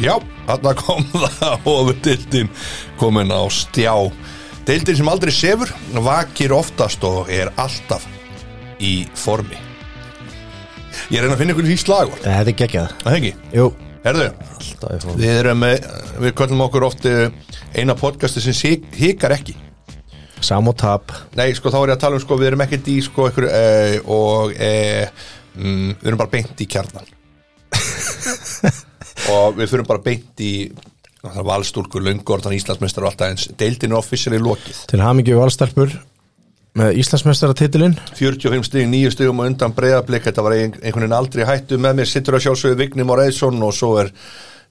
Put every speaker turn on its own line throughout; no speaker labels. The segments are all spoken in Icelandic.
Já, þarna kom það ofurdildin komin á stjá. Deildin sem aldrei sefur, vakir oftast og er alltaf í formi. Ég reyna að finna ykkur í slagur,
Þetta er geggjað
það hengi.
Jú
Herðu,
Alltaf ég fór
við erum með, við köllum okkur oft eh, eina podcasti sem sig- hikar ekki.
Sam og tap
Nei, sko, þá er ég að tala um, sko, við erum ekkert í, sko, ykkur, e, og e, mm, við erum bara beint í kjarnan. og við fyrir bara beint í, það er valstúlkur, löngordan, Íslandsmeistar og allt aðeins, deildin er officially lokið.
Til hamingju valstarpur Með Íslandsmeistaratitilinn
45 stig, 9 stigum og undan breyðablik, þetta var ein- einhvern veginn aldrei í hættu með mér, sittur að sjálfsögðu Vigni Moreðsson og svo er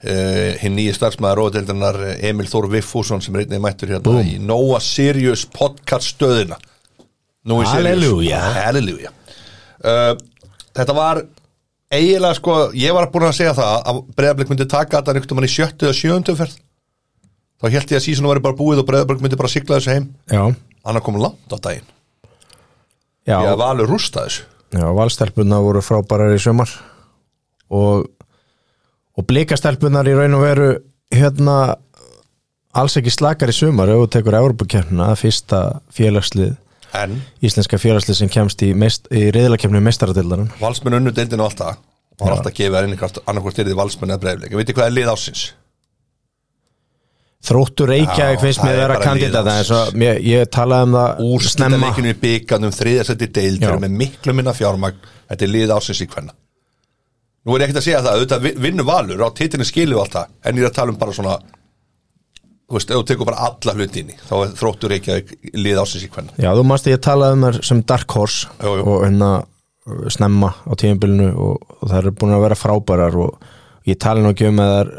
e, hinn nýju starfsmæðar róðdeildarinnar eh, Emil Þór Viffússon sem er einnig mættur hérna í Nóa Sirius podcast stöðina. Nói Sirius.
Halleluja.
Halleluja. Uh, Þetta var eiginlega sko, ég var búin að segja það að Breiðablik myndi taka þetta einhvern veginn í sjöttu eða sjöundu ferð þá held ég að sísunum væri bara búið og Breiðablik myndi bara sigla þessu heim
Já
annar kom langt á daginn
Já,
ég var alveg rústa þessu
Já valstarpurna voru frábærar í sömar Og Og blikastarpurnar í raun og veru Hérna Alls ekki slakar í sömar Ef þú tekur Evropakefnina Fyrsta félagslið
en
Íslenska félagslið sem kemst í, meist, í reyðlakefni mestaratildarinn
valsmenn unnu deildinu alltaf og var alltaf að gefa einhvern hvert annarkvort styrði valsmenn eða Breiðablik, ég veit hvað er lið ásins
Þróttur
Já,
Reykjavík finnst
það
mér
er
vera
bara
kandidata
liðið.
eins og mér, ég talaði um það
úrslita
snemma
leikinu í bygganum þriðarsætti deild, þeir
Já.
eru með miklu minna fjármagn þetta er lið ásins í hvenna nú er ég ekkert að segja það, auðvitað vi- vinnu valur á titinu skilu alltaf, en ég er að tala um bara svona þú veist, ef þú tekur bara alla hluti inn í, þá er þróttur ekki að lið ásins í hvenna
Já, þú manst að ég talaði um það sem Dark Horse
Jú, jú.
og hérna uh, snemma á tíðanbylinu og, og það eru búin að vera frábærar og ég tala nú ekki um að það er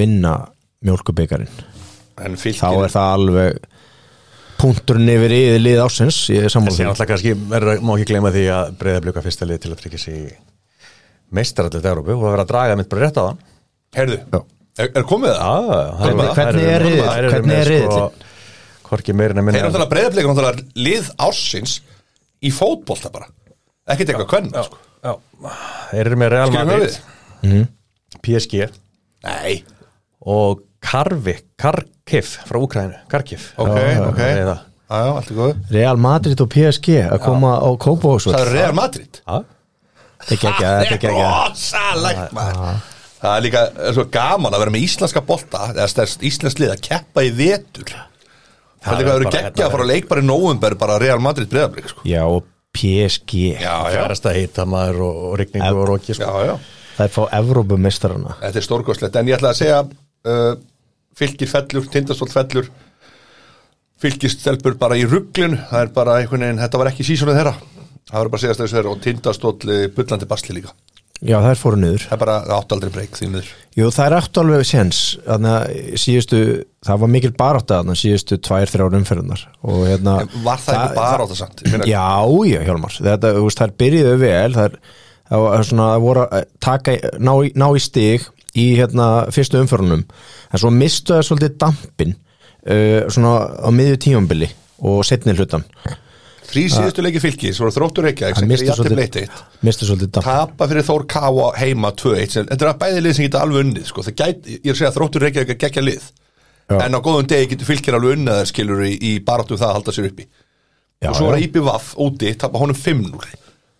vinna mjólkubikarinn
en
þá
fylgir,
er það alveg punkturinn yfir yfir lið ásins ég er
En síðan
sammála því.
alltaf kannski verður- má ekki gleyma því að breyðablika fyrsta lið til að tryggja sig í meistarallit Európu og það verður að draga mitt bara rétt á hann
heyrðu
Já.
er, er komið það?
Hvernig- hvernig er riðill? Hvernig er riðillinn?
sko, Hvorki meirinn að
Þeir eru
minna
náttúrulega breyðablik náttúrulega lið ársins í fótbolta bara ekkert eitthvað kvenna sko.
Þeir eru með Real
Skilur
Madrid,
höfuðið?
PSG
Nei,
og Karvi, Karkif frá Úkrænu, Karkif
ok, ok
það er
Já,
það.
já, allt er góð
Real Madrid og PSG að koma á
Það er
Kópavóksvöld
Real Madrid
þetta er geggjað, þetta er geggjað
rosalegt maður Það er líka er svo gaman að vera með íslenska bolta eða stærst íslensk lið að keppa í vetur Það er líka að vera
bara
geggja
hérna-
að fara að leik bara í nóvumber bara Real Madrid breyðablik sko.
Já, og PSG
Já, já,
Fjærast að heita maður og, og rigningu og roki
já,
sko.
já
það er fá Evrópumistarana
Þetta er stórkostlegt, en ég ætla að segja uh, fylgir fellur, tindastóll fellur fylgist stelpur bara í rugglun, það er bara einhvern veginn þetta var ekki sísónuð þeirra það var bara að segja þessu þeirra og tindastóll eh, bullandi basli líka,
Já, það er fóru niður
það er bara það átt aldrei breyk því miður,
Jú, það er eftir alveg séns þannig að síðustu, það var mikil barátta þannig að síðustu tvær, þrjár umferðunar og hérna
var það eitthvað bara á það samt Ég meina,
Já, já, Hjálmar, þetta, þú veist, þær byrjuðu vel þær, það var svona, það voru að taka, í- ná, í- ná í stig í hérna fyrstu umförunum en svo mistu það svolítið dampin uh, svona á miðju tíumbili og setni hlutan
þrý síðustu leiki fylgis voru þróttur ekki,
Það
ekki,
mistu
ég ætti
svolítið,
leitt
mistu svolítið dampin
tapa fyrir Þór K á heima 2-1 sem- þetta er að bæði lið sem geta alveg unnið sko. það gæt, ég er að segja að þróttur reykja ekki að gegja lið
Já.
en á góðum degi getur fylgir alveg unnið þær skilur í, í baráttum það að halda sér uppi
Já,
og svo var
já.
Íbjö Vaff úti, tapa honum 5-0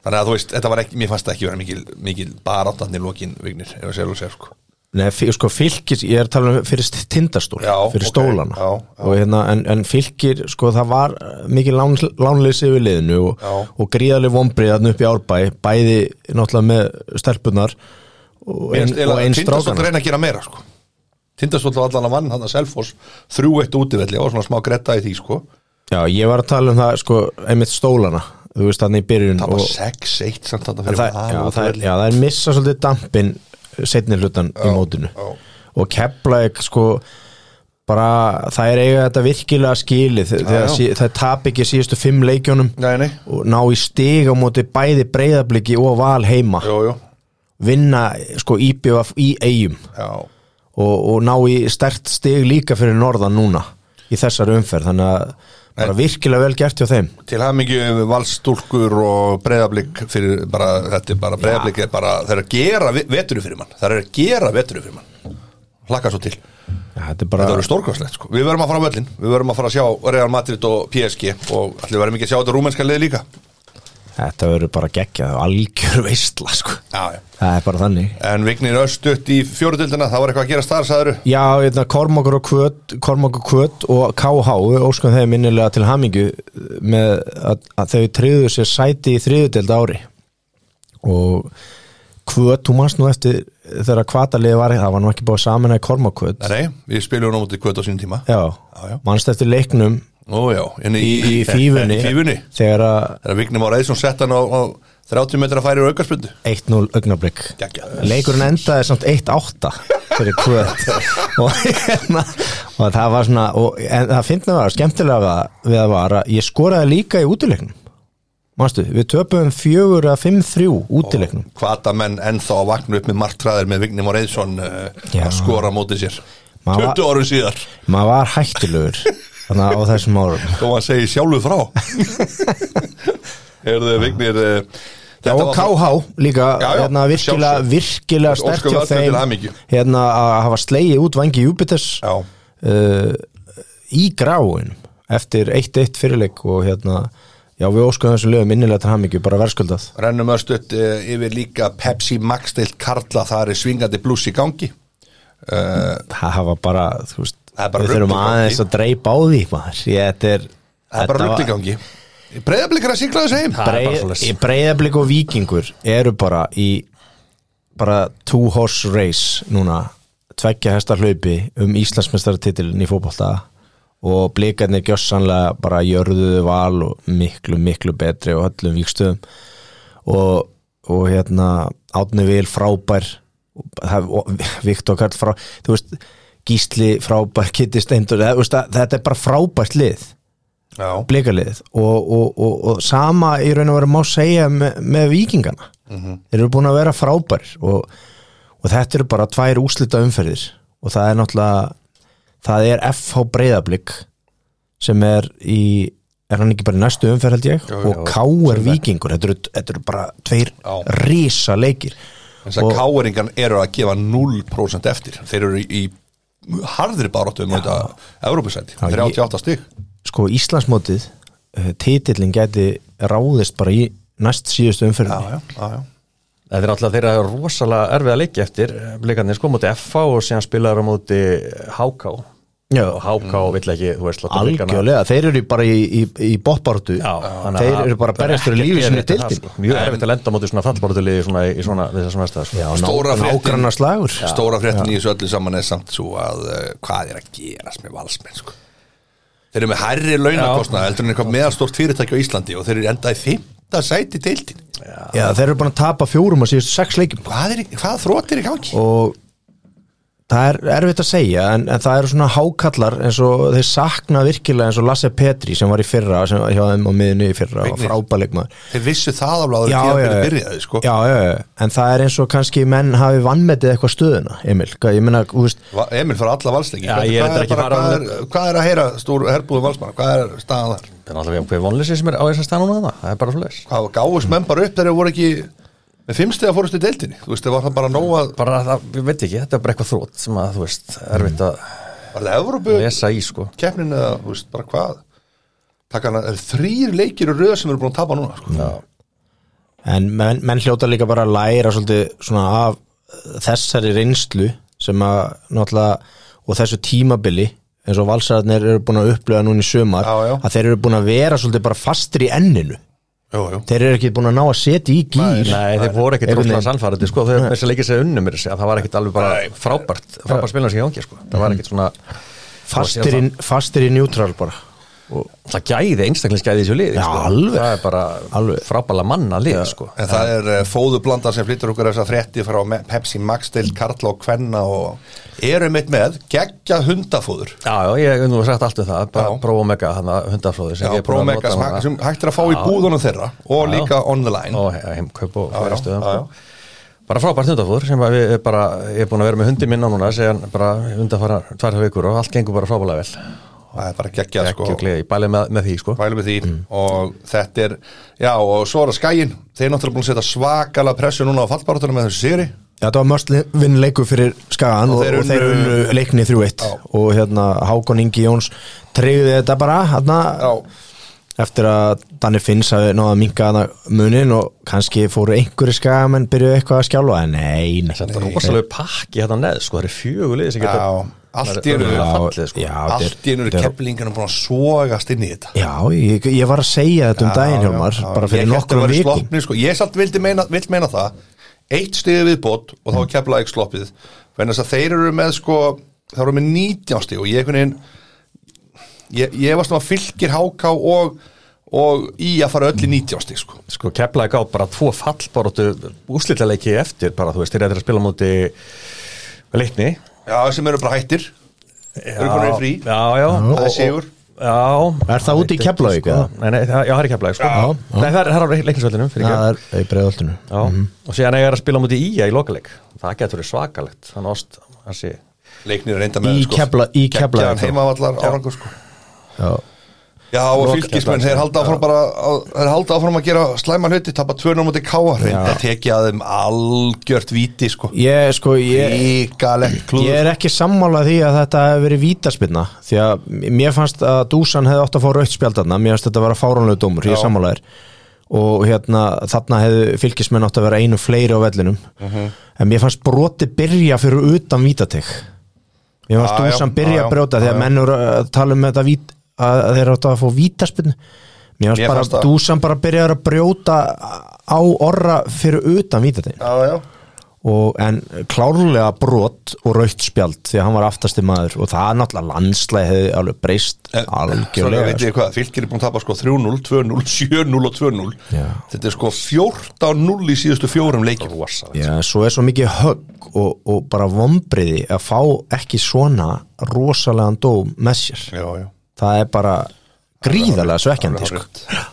þannig að þú veist, þetta var ekki, mér fannst það ekki vera mikil, mikil baráttan í lokin vignir, ef að segja alveg sér sko
Nei, fí- sko, fylgir, ég er að tala um fyrir st- tindastól,
Já,
fyrir
ok,
stólana
já, já.
Og hérna, en, en fylgir, sko, það var eh, mikið lán, lánleysi yfir liðinu og,
Já.
og gríðaleg vombrið þarna upp í árbæ, bæði náttúrulega með stelpunar og einn ein
Tindastótt
strákana
reyna að gera meira sko Tindastótt var allan að vann hann að Selfoss 3-1 útivelli, það var svona smá gretta í því sko
Já, ég var að tala um það, sko, einmitt stólana, þú veist, þannig í byrjun
það var
og-
6-1 samt þarna
en
fyrir
það, já,
Val
það, er,
útivelli.
já, það er missa svolítið dampin setni hlutan í mótinu
já.
og Keflavík sko bara það er eiga þetta virkilega skilið þegar
já.
sí, það tap ekki síðustu fimm leikjónum
Nei, nei,
og ná í stig á móti bæði breyðabliki og val heima
jú, jú
vinna sko íbjöf í eigum
Já,
og, og ná í stert stig líka fyrir norðan núna í þessari umferð þannig að bara virkilega vel gert hjá þeim
til hafmyggju valstúlkur og breyðablík fyrir bara, þetta er bara breyðablík er bara, það er að gera veturu fyrir mann það er að gera veturu fyrir mann hlakka svo til
Já, þetta er
Þetta
bara
verður stórkvæslegt sko. Við verðum að fara á völlin, við verðum að fara að sjá Real Madrid og PSG og allir verðum ekki að sjá þetta rúmenska lið líka
Þetta verður bara geggjað og algjör veistla sko.
Já, já
Það er bara þannig
En Vignir Östut í fjórutildina, það var eitthvað að gera starf, sagður
Já, hérna, Kormokur og Kvöt Kormokur Kvöt og KH við óskum þeim minnilega til hamingju eh, með að, að þau treyðu sér sæti í þriðudeld ári og Kvöt, þú manst nú eftir þegar kvatalið var það var nú ekki búið saman að Kormokvöt
Nei, við spilum nú mútið kvöt á sínum tíma
Já,
Já, já.
manst eftir leiknum
Ó já, en
í, í fífunni
Í fífunni
þegar að
Þegar Vignir Már Eðsson sett hann á, á 30 metra færi og aukarspundu
1-0 augnablik
Geggjað.
leikurinn endaði samt 1-8 fyrir kvöt og, hérna, og það var svona og, en það finnum var, skemmtilega var, við að var að ég skoraði líka í útileiknum Manstu, við töpuðum 4-5-3 útileiknum
Hvata menn ennþá að vakna upp með martræðir með Vignir Már Eðsson uh,
Já.
að skora mótið sér
Má-
20 árum síðar,
maður var hættulegur þannig að á þessum árum
þó hann segi sjálfu frá Erðu Vignir uh,
Já, og KH líka
Já, já,
hérna, virkilega,
sjálfsögðu.
virkilega sterkt
Óskum
hjá
öllum
þeim
til hamingju.
hérna, að hafa slegið út vangi Júpiters
Já,
uh, í gráin eftir 1-1 fyrirleik og hérna, já við óskuðum þessu lögum innilega til hamingju, bara verðskuldað
Rennum östuðt uh, yfir líka Pepsi Max deilt Karla, það er svingandi blues í gangi uh,
það hafa bara, þú veist
Það er bara
við þurfum
rugl í gangi.
aðeins að dreipa á því maður, ég, þetta er
Það er bara
þetta var-
rugl í gangi Breiðablikar að sigla þessu heim
Það er bara
Breið-
svoleiðis.
í breiðablik og vikingur eru bara í bara two horse race núna, tveggja hesta hlaupi um Íslandsmestaratitilin í fótbolta og blikarnir gjössanlega bara jörðuðu val og miklu, miklu betri og öllum vikstöðum og, og hérna Átni Vil frábær og það- og Viktor Karl frá þú veist, Gísli frábær Kitty Steindur, það- þú veist, það- þetta er bara frábært lið
Já,
blikaliðið og, og, og, og sama í raun og veru má segja með, með vikingana
Mhm.
þeir eru búin að vera frábærir og, og þetta eru bara tvær úslita umferðir og það er náttúrulega það er FH Breiðablík sem er í er hann ekki bara í næstu umferð held ég og K.R. Víkingur, þetta eru, þetta eru bara tveir
Já.
risa leikir
þess að káeringan eru að gefa 0% eftir Þeir eru í í harðri baráttu um þetta Evrópusæti,
Já, ég-
38 stig
sko Íslandsmótið eh, titillinn gæti ráðist bara í næst síðustu umferðinni
já, já, já
Þetta er alltaf þeirra rosalega erfið að leikja eftir blikarnir sko móti FH og síðan spilaður á móti HK
Já.
og HK vill ekki, þú veist, láta blikana
Algjörlega, þeir eru bara í, í, í boppartu
Já, þannig að
Þeir
það-
eru bara að berjast fyrir
ekkert
lífi sinni
erfitt að-
deildin
sko. Mjög erfitt að lenda á móti svona fallborðuliði svona, í svona þessar sem versta sko.
Já,
Stóra fréttin-
nágranna slagur
Stóra fréttin í þessu öllu saman er samt svo að uh, hvað er að gerast með valsmenn sko. Þeir eru með hærri launakostna heldur en eitthvað meðalstort fyrirtæki á Íslandi og þeir eru endað í fymta sæti deildin
Já, þeir eru búin að tapa fjórum á síðustu sex leikum
Hvað, er, í- hvað þrótt er í gangi?
og það er erfitt að segja en, en það eru svona hákallar eins og þeir sakna virkilega eins og Lasse Petri sem var í fyrra, sem var hjá þeim á miðinu í fyrra og
Vignir.
frábæleikmaður
Þeir vissu það alveg að þeir
já,
tíðan
já,
byrja
já.
byrjaði sko.
já, já, já, en það er eins og kannski menn hafi vannmetið eitthvað stöðuna Emil, Hvað- ég meina, þú veist
Va- Emil fyrir alla valsleiki
Já,
Hvernig-
ég er
hvað,
reyndar ekki
bara-
fara á
hvað, er- hvað er að heyra stúr herbúðum valsmann? Hvað er staðan þar?
Það er alltaf hver vonleysi sem er á þessar stað núna þarna. það er bara svoleiðis
Hvað gáðust menn bara upp þegar þeir voru ekki með fimmstega fórust í deildinni? Þú veist, það var það bara nóg að
Bara það, ég veit ekki, þetta er bara eitthvað þrótt sem að, þú veist, erfitt að
var það Evrópu
lesa í sko
keppnin eða, þú veist, bara hvað Taka hana, það er þrýr leikir og röð sem eru búin að tapa núna sko.
En menn, menn hljóta líka bara að læra svolítið svona af eh, þessari reynslu sem að náttúrulega og þessu tímabili eins og valsararnir eru búin að upplega núna í sömar
Já, já.
að þeir eru búin að vera svolítið bara fastir í enninu
Jú, jú
þeir eru ekki búin að ná að setja í gýr
Nei, þeir voru ekkit
Eru
rosalega
þeir-
sannfærandi sko, þeir þessi leikir sér unnum mér að það var ekkit alveg bara frábært frábært spilin sem ég ángi sko, það var ekkit svona
fastir, í- fastir í njútrál bara
það gæði, einstaklingsgæði í þessu liði
Já,
sko.
alveg.
það er bara
Alveg.
frábæla manna lið sko.
En það er uh, fóðublanda sem flyttur okkur þessa frétti frá Me- Pepsi Max til Karla og Kvenna og erum mitt með geggja hundafóður
Já, já, ég hef nú sagt allt um það bara
Já.
Pro Omega, hann að hundaflóði
Já, Promega sem, hæ- sem hægt er að fá í búðunum þeirra og
Já.
líka online
og he- heimkaup og
Já, já,
hverja stöðum
já, já.
sko. bara frábært hundafóður sem að við er bara, ég er búin að vera með hundi minna núna segja bara hundafara tvær vikur og allt gengur bara frábæla vel
Það er bara geggjað
ekki
sko
og gleði, ég bæli með, með því sko.
Mælum við því og þetta er, já og svo er að skæin, þeir náttúrulega búin að setja svakalega pressu núna á fallbaratunum með þessu sigri
Þetta var mörst vinn leikur fyrir Skagan og,
Og þeir
og, þeir
unnu-
unnu leikni 3-1
Já.
og hérna Hákon Ingi Jóns treyði þetta bara hérna, eftir að Danni Finns hafi náða að minka hana munin og kannski fóru einhverju Skagamenn byrjuðu eitthvað að skjálfa en nei, nei,
Þetta er rosalega pakki hérna neð sko, það eru fjögulegð sem getur
Já, allt í einu.
Það er örugglega fallið sko
Já, þetta er-
Allt í einu eru
þetta er-
keflingarnir búin að sógast inn í þetta
Já, ég, ég var að segja þetta um daginn Hjálmar,
já, já.
bara fyrir
Ég hélt
nokkrum
að væri
vikum
sloppnir, sko. Ég samt vildi meina, vill meina það Eitt stigu viðbót og þá kefla ekki sloppið Þannig að þeir eru með sko Það eru með 19 stig og ég einhvern veginn Ég, ég var svona fylgir háká og, og í að fara öll í 19 stig sko.
sko keflaði á bara tvo fallbaróttu úslitaleiki eftir bara þú veist, þeir eru að spila á móti leikni
Já, sem eru bara hættir Eru konar í frí
já, já
Það er sigur
já
Er það úti í Keflavík,
sko,
eða?
nei, nei, það, já, það er í keflaði sko
Já, já.
nei, það er, það er á leiknisvöldinu fyrir
Það
ekki
er í breiðoltinu
já, og síðan eiga þeir að spila á móti í í lokaleik það getur verið svakalegt þannig ást, hansi
Leiknir er reynda með
Í Kefla- í Keflavík,
Kekkjaðan
þá.
heimavallar árangur sko
Já,
Já og
Loka-
fylgismenn, þeir halda áfram bara að- þeir halda áfram að gera slæma hluti tapa 2-0 mútið káa, reynda tekið að þeim algjört víti sko
ég sko, ég
Ígalegt klúður
Ég er ekki sammála því að þetta hefði verið vítaspinna því að mér fannst að Dúsan hefði átt að fá rautt spjaldarna, mér fannst þetta að vera fáránlega dómur, ég
Já.
er sammála þér og hérna þarna hefði fylgismenn átt að vera einu fleiri á vellinum
Mhm.
en mér fannst broti byrja fyrir utan vítatig mér fannst
Já, já,
Dúsan byrja
já, já,
að brjóta
já,
því að
já.
menn eru að tala um þetta vít, að að þeir átt að fá vítaspinna mér fannst
Mér
bara
fannst það.
Dúsan bara byrjaður að brjóta á orra fyrir utan vítatig
Já, já
og, en klárlega brot og raukt spjald því að hann var aftasti maður og það er náttúrulega landslega hefði alveg breyst
Svona
algjörlega sko.
veit Eh, ég hvað, fylgir er búin að tapa sko 3-0, 2-0, 7-0 og 2-0
Já.
Þetta er sko 14-0 í síðustu fjórum leikin
rosalega
Já, svo er svo mikið högg og, og bara vombriði að fá ekki svona rosalegan dóm með sér
Já, já
það er bara gríðarlega svekkjandi
Alveg
sko.
hárrétt.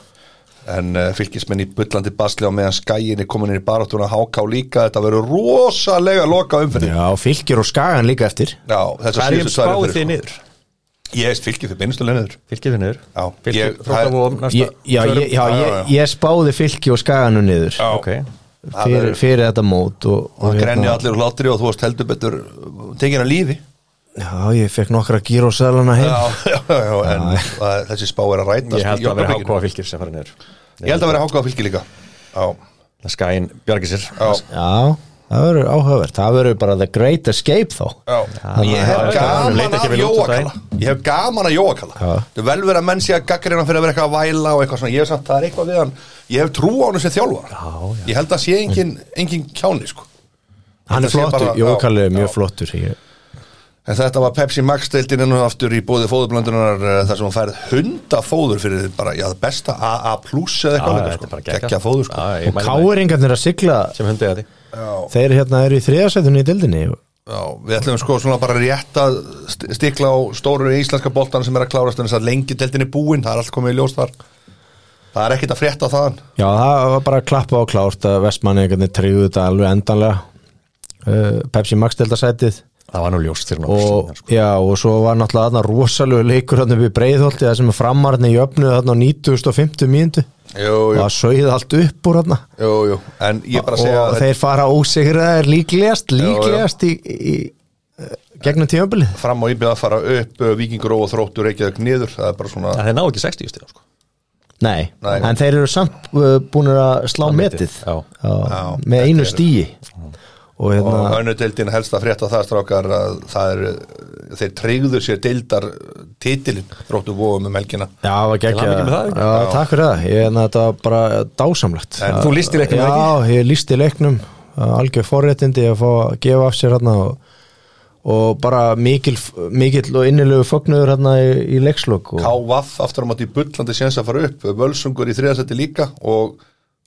En uh, fylgismenn í bullandi basli á meðan skæin er komin inn í baráttuna háká líka, þetta verður rosalega loka umfinni Já,
Já, fylgir og skagan líka eftir
þess að
hverjum
síðustu tvær
spáði
umferðir,
þið
sko.
niður?
Ég er fylgið fyrir beinustu leinuður
fylgið þið niður?
Já. Ég-
fylgið
það er-
þróttabúum næsta
ég, Já,
förum-
ég, já,
já,
ég,
já.
ég spáði fylgi og skaganu niður
ok
fyrir, fyrir þetta mót og,
Og grenni
hérna-
allir úr hlátri og þú varst heldur betur uh, tekin að lífi
Já, ég fekk nokkra gírósælana heim
Já, já, já, en það- þessi spá er að rætast
ég held
í
að vera
augnablikinu.
hákóa fylgir sem fara niður
Ég held að vera hákáð fylgi líka Já,
skæin bjargir sér
já,
Já, það verður áhugavert Það verður bara the great escape þá
já Ég
Já,
hef
já,
já,
gaman
leit ekki
að
vel út um á
jóakalla Ég hef gaman að jóakalla
Já.
Það er vel verið að menn sé að gaggrina fyrir að vera eitthvað að væla og eitthvað svona Ég hef sagt, það er eitthvað við hann Ég hef trú á hann sem þjálfar
Já, já.
Ég held að sé engin, engin kjáni, sko
Hann
Þetta
er
sé
flottur,
bara-
Jókallið er
já,
mjög
já.
flottur ég.
En þetta var Pepsi Max deildin enn og aftur í bóði fóðurblöndunar þar sem hún færð hundafóður fyrir bara, já, það besta AA plus eða eitthvað líka, sko. Gekkja fóður, sko
Já, ég
Og
mæli með
káeringarnir að sigla
því. sem hundið að því
Já.
Þeir hérna eru í þriðasætunni í dildinni
Já, við ætlum sko svona bara rétt að st- stikla á stóru íslenska boltan sem er að klárast en þess að lengi deltin er búinn, það er allt komið í ljós þar Það er ekkert að frétta þaðan
Já, það var bara að klappa á klárt að vestmanningarnir tryggðu þetta alveg endanlega uh, Pepsi Max deildasætið
það var nú ljóst fyrir
og,
náttúrulega sko.
já, og svo var náttúrulega þarna rosalegu leikur þarna upp í breiðholti það sem framarni jöfnuðu þarna á 90.50 mínútu
Jú,
og
jú,
það sögði allt upp úr þarna
jú, jú En ég er bara að segja
og
að
þeir fara ósigraðir líklegast
já.
líklegast í, í, í gegnum tímabilið
þetta fram á íbjöð að fara upp uh, Víkingur og þróttur Reykjavík niður Það er bara svona
Það þeir ná ekki 60 stíl sko.
Nei,
Nei.
en þeir eru samt uh, búin að slá
metið,
metið
já.
Já,
með
þetta
einu
er-
stíi og hérna
og önnu deildin helst að frétta það strákar að það er, þeir treyðu sér deildar uh, titilinn þróttu vóðum um helgina
Já, það var geggja
hamingju með það,
Já,
ekki?
takk fyrir það, ég hérna þetta var bara dásamlegt
En
Það-
þú lýstir leiknum,
Já, ég lísti leiknum algjör forréttindi að fá að gefa af sér hérna og, og bara mikil, mikil og innilegu fognuður hérna í, í leikslokk og
KVF aftur á móti í bullandi séns að fara upp Völsungur í þriðasetti líka og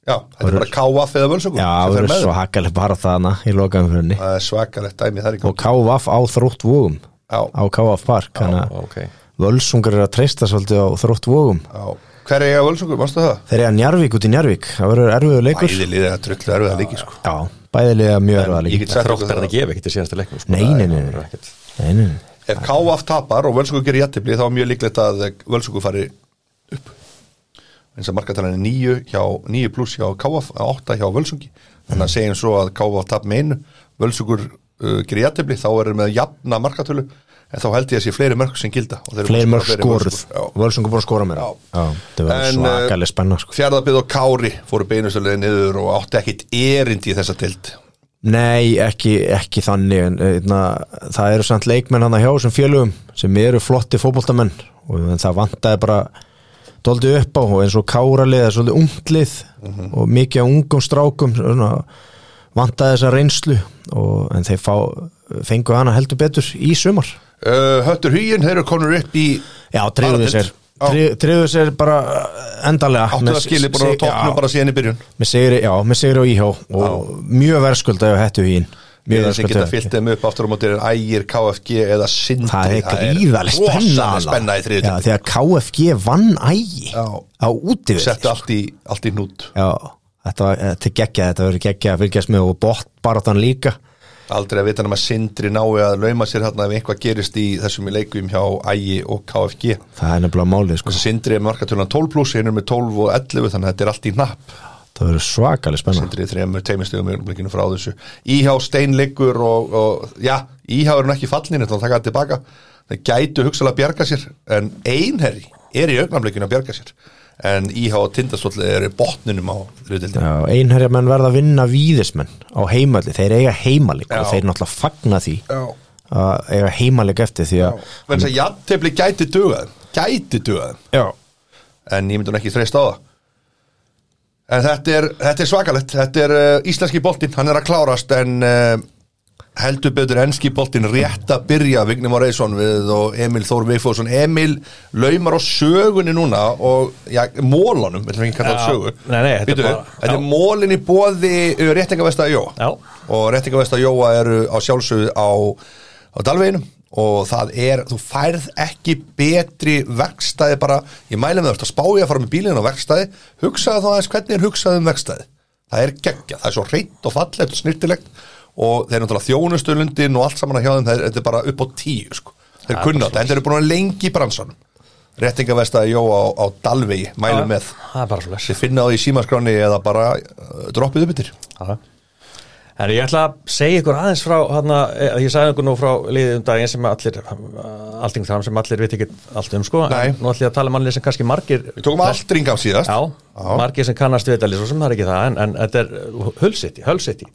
já, þetta er bara KVF eða Völsungur
Já,
sem fer
það verður
með þeim.
svo hakkalega bara þarna í lokaumfjörni
Það er svakalegt dæmi, það er ekki
og KVF á þrótt vógum
Já.
á KVF Park þannig að
okay.
völsungar er að treysta svolítið á þrótt vógum
Já. Hver er ég að völsungur, mannstu það?
þeir eru að Njarvík út í Njarvík það verður erfiður leikur
Bæði liðið að trullu erfiða líki sko.
Já, bæðilega mjög erfiða
ég
leikur
get sagt ykkur
þrótt er
það.
það gefi ekkert í síðanstu leiknum sko.
Nei, nei, nei,
Það er
nei.
ekkert.
Nei, nei, nei.
Ef KF tapar og völsungur gerir jættibli þá er mjög líklegt að völsungur fari upp eins og markatalan er
Mm.
9 hjá, 9 pluss hjá KF 8 hjá völsungi þannig að segjum svo að KF tap með einu völsugur uh, gerir jættibli þá erum við að jafna markatölu en þá held ég að sé fleiri mörg sem gilda og þeir eru
Fleiri
búin
mörg
að skora fleiri mörk,
skoruð
sko. Já.
Völsungur búin að skora mér
Já.
Það var
En, eh,
svakalega spenna sko.
Fjarðabíð og Kári fóru beinustöluði niður og átti ekkit erindi í þessa tild
Nei, ekki, ekki þannig en, eitna, það eru samt leikmenn hann að hjá sem félögum sem eru flotti fótboltamenn og en það vantaði bara doldið upp á og eins og káralið er svolítið unglið
Mhm.
og mikið af ungum strákum svona, vantaði þessa reynslu og, en þeir fá, fengu hana heldur betur í sumar
uh, Höttur Hugin, þeir eru konur upp í
Já, treyðu
Aðaldeild.
sér
Já.
Tri- tryggðu sér bara endalega
áttu
Með
að skilja bara á
sig-
toppnum
já.
bara síðan í byrjun
Með sigri, já, með sigri á íhjá og mjög verðskuldaði á hættu hín Mjög
Við sem geta
verðskuldaði
fyllt þeim upp aftur á móti er ægir, KFG eða Sindri
Það er gríðalega spenna
rosaleg spenna í þriðutum
Því að KFG vann ægi
Já.
á útivið
Settu allt í, allt í hnút
Já, þetta, var- þetta er geggjað, þetta verður geggjað að fylgjast með og bótt barðan líka
Aldrei að vita nema Sindri nái að lauma sér hérna ef eitthvað gerist í þessum leikum hjá ægi og KFG
Það er nefnilega málið sko
Sindri er markatölunan 12 pluss, hinn er með 12 og 11 þannig að þetta er allt í hnapp
Það verður svakalega spenna
Sindri er þreymur teimistegum í öllumleikinu frá þessu Íhá steinleikur og, og já, Íhá er hún ekki fallin þannig að taka það tilbaka það gætu hugsalega að bjarga sér en einherri er í augnamleikinu að bjarga sér en Íhá og Tindastóll eru í botninum á rúdildinu
Já, einherja menn verða að vinna víðismenn á heimalli, þeir eiga heimalli og
Já.
þeir náttúrulega fagna því
Já.
að eiga heimalli eftir því að
Þannig að jafntefli gæti dugað gæti dugað,
Já,
en ég myndi hún ekki þreist á það En þetta er, þetta er svakalett, þetta er uh, íslenski boltinn, hann er að klárast en uh, heldur betur ennski boltinn rétt að byrja Vignum og Reisson við og Emil Þór Vigfóðsson. Emil laumar á sögunni núna og, já, mólanum, við ætlum ekki að kalla það
Já,
sögu.
nei, nei, þetta er
Býtu,
bara-
Þetta
já.
er mólin í bóði réttingavesta Jóa
Já.
og réttingavesta Jóa eru á sjálfsögðu á, á Dalveginum og það er, þú færð ekki betri verkstæði bara, ég mæli með þetta, spá ég að fara með bílinn á verkstæði, hugsaðu þá aðeins hvernig er hugsaðu um verkstæði, það er geggja, það er svo reynt og fallegt og snirtilegt og þeir náttúrulega þjónustulundin og allt saman að hjá þeim, það er, þetta er bara upp á tíu sko, þeir kunna þetta, þetta eru búin að vera lengi í bransanum, réttingavestaði Jóa á, á Dalvegi, mæli með
Það er bara svo les
þið finna það í símaskráni eða bara uh, droppið upp yttir
En ég ætla að segja ykkur aðeins frá hana, ég sagði ykkur nú frá liðið um daginn sem allir allting þar sem allir veit ekki allt um sko
Nei.
en nú ætla ég að tala um manni sem kannski margir
Við tókum aldringam síðast
Já, margir sem kannast við þetta lið svo sem það er ekki það en, en þetta er Hullsiti, Hullsiti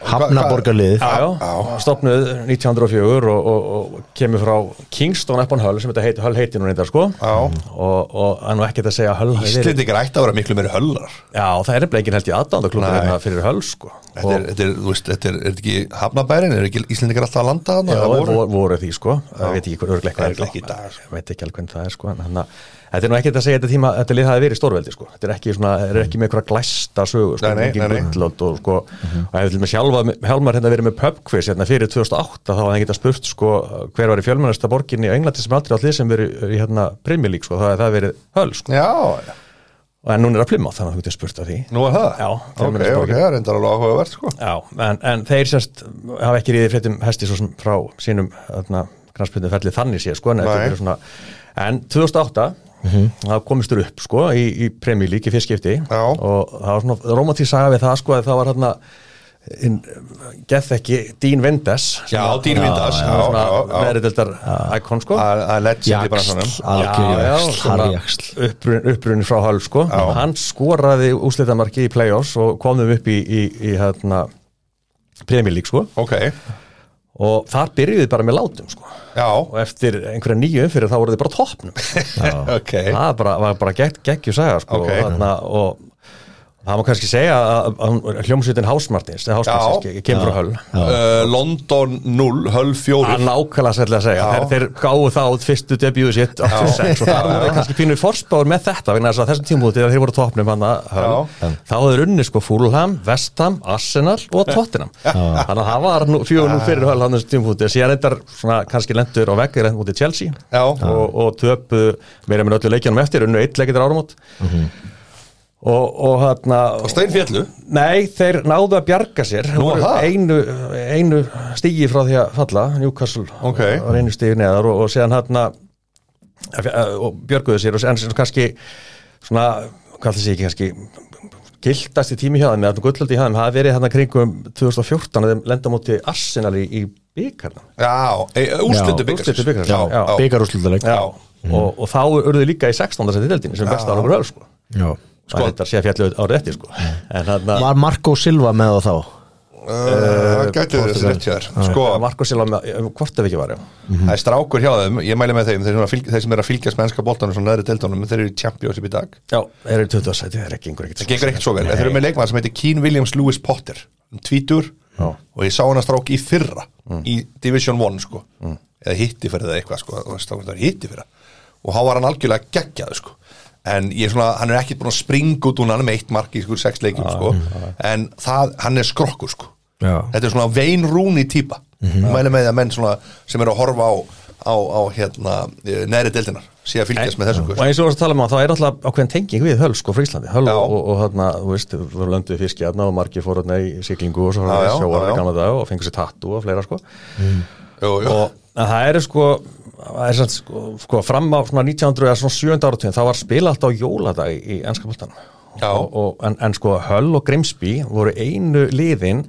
hafnaborgarliðið
Já, já, stopnuð 1904 og, og, og kemur frá Kingston upon Hull sem þetta heit, Hull heitir nú reyndar sko
Já.
og, og hann nú ekkert að segja að Hull hafi verið-
Íslendingar ætti að vera miklu meiri höllar
Já, það er nefnilega enginn held í aðdánda klubur
Nei.
hérna fyrir Hull sko
Þetta er, þetta er, þú veist, þetta er, er þetta ekki hafnabærin, er ekki Íslendingar alltaf að landa hann?
Já, voru, voru, því sko, ég veit ekki hvernig örgleik
Það er ekki í dag,
ég veit ekki alveg hvernig það er sko en þannig að þetta er nú ekkert að segja þetta tíma þetta lið hafi verið stórveldi sko, þetta er ekki svona er ekki með einhverja glæsta sögu sko,
Nei, nei, nei,
engin
Mhm. nei.
gullöld og sko og ef við með sjálfa, Hjálmar hérna verið með pubquiz hérna fyrir 2008 þá hafði hann geta spurt sko hver var í fjölmennasta borginni á Englandi sem aldrei allir sem verið í hérna Premier League sko, það, það verið höll sko,
Já,
en núna er að plima þannig að þú getur spurt að því
nú er það?
Já,
ok,
fjölmennisborgin.
ok, það er reyndar alveg áhugavert, sko.
Já, en, en þeir sérst hafa ekki ríðið fréttum hesti svo sem frá sínum knarspjöndum ferlið þannig sé sko, en, þetta
Nei.
eru svona, en 2008 þá komistur upp sko í, í premjulík í fyrstskipti
Já.
og það var svona romantíð saga við það sko að það var hérna gett ekki Dín Vindes
Já, Dean Vindas, já, já, já.
meðriðildar íkon sko
Það það er legend í bransanum.
Jaksl, algjörjaksl, harjaksl
upprun, upprunni frá Hall sko hann skoraði úslitamarki í play-offs og komum upp í, í, í hérna, Premier League sko
Ok,
og þar byrjuði bara með látum sko
já,
og eftir einhverja nýju umfyrir þá voru þið bara á toppnum
ok.
það var bara, var bara gegg, geggju saga sko
Ok.
og, þarna, og það má kannski segja að, að hljómsveitin Hásmartins eða Hásmartins kemur frá höll
Uh, London 0, höll 4.
að nákvæmlega sætla að segja
Já.
þeir, þeir gáðu þá út fyrstu debutið sitt 86 og þar voru þeir kannski pínu fórspáður með þetta vegna þess að þessum tímúti þegar þeir voru á toppnum hann
Já.
þá hefur unni sko Fúlham, Vestham, Arsenal og Tottenham þannig að það var nú fjóðun fyrir höll hann þessum tímúti síðan endar svona kannski lendur og veggir enn mútið Chelsea
Já.
og, og töpu meira með öllu leikjanum eftir unnu eitt leikitur áramót og, og hérna
Mhm. Og Steinfjallu,
Nei, þeir náðu að bjarga sér Nú,
er það?
einu, einu stígi frá því að falla Newcastle
Ok.
var einu stígi neðar og, hérna, og séðan hann og björguðu sér og en sem kannski svona, hvað það sé ekki kannski giltast í tími hjá þeim, eða gullöldi hjá þeim, hafa verið hann kringum 2014 að þeim lenda móti Arsenal í, hérna. í byggarna.
Já, e, úrslitu
úrslitu bikars.
Já,
Já.
já.
byggarúslutaleg
Já. Og, og þá urðu þið líka í 16. seti deildinni sem besta árangur öll, sko.
Já.
Það er þetta sé að fjallið árið eftir, sko. En hann að
Var Marco Silva með það þá?
Það gæti þessi Eh, rétt hjá þér Sko,
Marko Silva, með- hvort ef ekki var, já.
það er strákur hjá þeim Ég mæli með þeim, þeir sem, eru að fylg, þeir sem er að fylgjast með enska boltanum svona neðri deildunum, þeir eru í Champions upp í dag
Já, þeir eru í 20. seti, það er ekki einhver ekkert.
Það gengur ekkert svo vel, en þeir eru með leikmann sem heitir Keen Williams Lewis Potter um tvítur og ég sá hann að strák í fyrra í Division 1 sko eða hitti fyrir það eitthvað sko og strákur það er hitti fyrir og hann var hann algjörlega geggjað sko en ég er svona, hann er ekkert búin að springa út úr hann með eitt mark í sko sex leikum sko en það, hann er skrokkur sko
Já.
þetta er svona veinrúni típa mæli með því að menn svona sem eru að horfa á, á, á hérna eh, neðri deildinar, sé að fylgjast með þessu
og
sko.
eins og þú varst að tala um að þá er alltaf ákveðin tenging við höll sko frá Íslandi höll
Já.
og, og, og þarna, þú veist, þú lönduðu fiski aðna og margir fór aðna í siglingu og svo
Já, já,
sjóar
já, já.
í gamla dag og fengur sér tattu og fleira sko
Jú, jú.
og en það eru sko það er sann sko, sko fram á svona 1900 eða svona 7. áratugin þá var spila alltaf á jóladag í, í ennska bóltanum
Já.
og, og, en, en sko höll og Grimsby voru einu liðin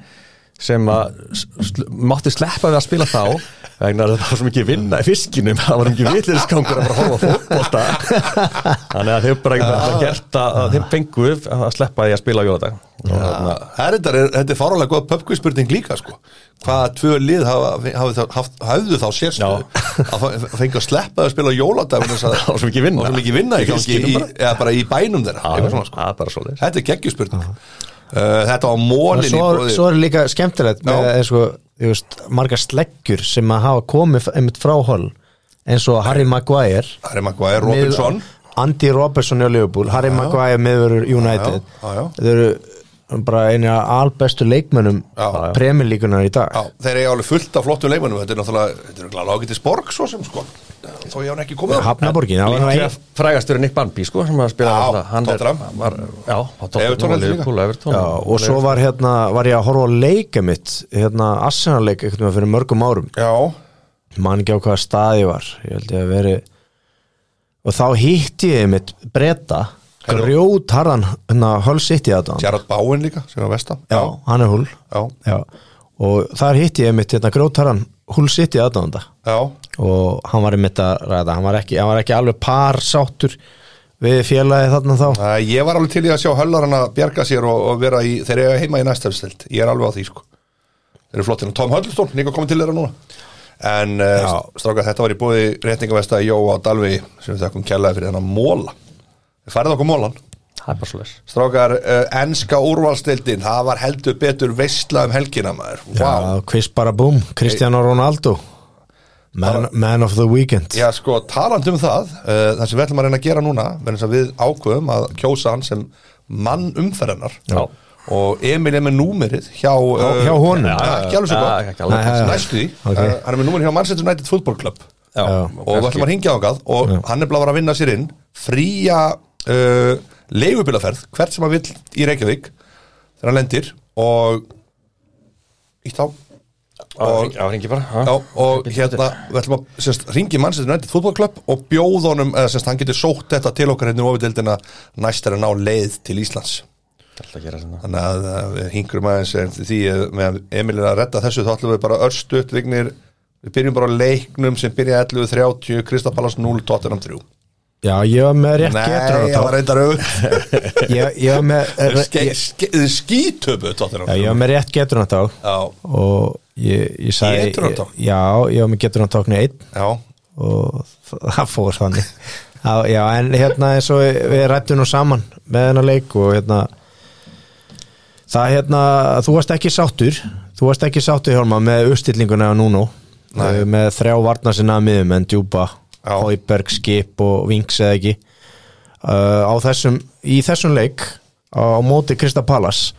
sem að sl mátti sleppa við að spila þá vegna þess að það var svo mikið vinna í fiskinum það var mikið vitliriskangur að bara horfa á fótbolta þannig að þeir bara ja. gert að, að þeir fengu að sleppa því að spila á jóladag og þarna
Ah. Það er þetta, er- þetta er fárálega góð pubquizspurning líka sko. Hvaða tvö lið hafa, hafa, þá- haft, hafðu þá sérstu
Já.
að fa- fengja að sleppa að spila á jóladag vegna þess að-
var svo mikið
Það
vinna.
var svo mikið vinna í
Í
gangi
fiskinum
í,
bara.
eða bara í bænum þeirra
það
eitthvað
er
svona,
svona
sko.
það er bara svolítið
Þetta er geggjuspurning uh, Þetta var
En
mólin
svo, svo er líka skemmtilegt með
Já.
eins og, þú veist, margar sleggjur sem að hafa komið f- einmitt frá hol eins og Harry Maguire
Það er maður hvað er
mið-
Robinson
Andy Robertson í Liverpool, Harry Maguire miður United
Já, já, já.
þau eru bara einu af albestu leikmönnum
Já.
premjörlíkunar í dag
Já, þeir eru alveg fullt af flottum leikmennum Þetta er náttúrulega, þetta er náttúrulega ágætið sporg svo sem sko Þó ég hann ekki komið á.
Hafnaborgin, það var nú
Líklega
ein-
frægastur er Nick Barnby sko sem að spila
Já,
alltaf. hann er-
Tottenham.
var, Já, á
Everton
Tottenham,
heldur líka.
Liverpool, Everton
Já, og svo var hérna, var ég að horfa á leika mitt, hérna Arsenal-leik einhvern veginn fyrir mörgum árum
Já,
man ekki á hvaða stað ég var ég held ég að veri og þá hitti ég mitt breyta
Hello.
grjót harðan hérna Hull City aðdáðan
Gerard Báin líka sem var vestam
já, hann er húl
já,
já. og þar hitti ég mitt hérna grjót harðan Hull City aðdáðanda
já
og hann var einmitt að ræða hann var ekki, hann var ekki alveg par sáttur við félagi þarna þá
Æ, ég var alveg til í að sjá höllarinn að bjarga sér og, og vera í, þeir eru heima í næstafstild ég er alveg á því sko þeir eru flottir, Tom Höllstón, líka komið til þeirra núna en uh, stráka þetta var í bóði réttingavesta Jóa og Dalvi sem við þekkum kærlega fyrir þennan móla við færið okkur mólan
Það er bara svo leis
strákar, uh, enska úrvalstildin það var heldur betur veistla um helgina maður, wow
já, quiz bara búm, Cristiano Ronaldo man, man of the weekend
Já sko, taland um það, uh, það sem við ætlum að reyna að gera núna, verðum þess að við ákveðum að kjósa hann sem mann umferðarnar
Já.
og Emil er með númerið hjá, uh,
hjá honum?
Já, ekki alveg svo
Já,
gott,
ekki alveg.
Nei, já, já.
næstu því,
Ok.
uh, hann er með númerið hjá Manchester United Football Club
Já,
Já.
og við ætlum að ringja ákað og hann er bara að vera að vinna sér inn fría uh, leigubilaferð, hvert sem hann vill í Reykjavík þegar hann lendir og ítt á og-
Já, hringi bara
Já, og hérna, við ætlum að sérst, ringi mannsættur nættið fútbolklöpp og bjóð honum, eða sérst, hann getur sótt þetta til okkar hérna um ofiðdeldina næst er að ná leið til Íslands.
Alltaf að gera svona
Þannig að eh, við hingurum aðeins eh, því eh, meðan Emil er að redda þessu, þá ætlum við bara örstuðt vignir, við byrjum bara á leiknum sem byrja 11.30, Kristapalas 0, Tottenham 3.
já, ég var með rétt
Nei,
getur
það var reyndar auðvitað.
ég, ég var með ég,
Skítöpu Tottenham
Já,
3.
ég var með rétt getur hann þá
Já,
og ég, ég sagði
Getunartákn?
Já, ég var með getur hann tákni einn
já,
og það fór þannig já, já, en hérna eins og við rættum nú saman með hennar leik og hérna það hérna, þú varst ekki sáttur þú varst ekki sáttur Hjálma með uppstillinguna á Nuno Eh,
Nei.
með þrjá varna sinna að miðum en djúpa,
Já.
Hauberg, Skip og Vings eða ekki uh, á þessum, í þessum leik á, á móti Krista Pallas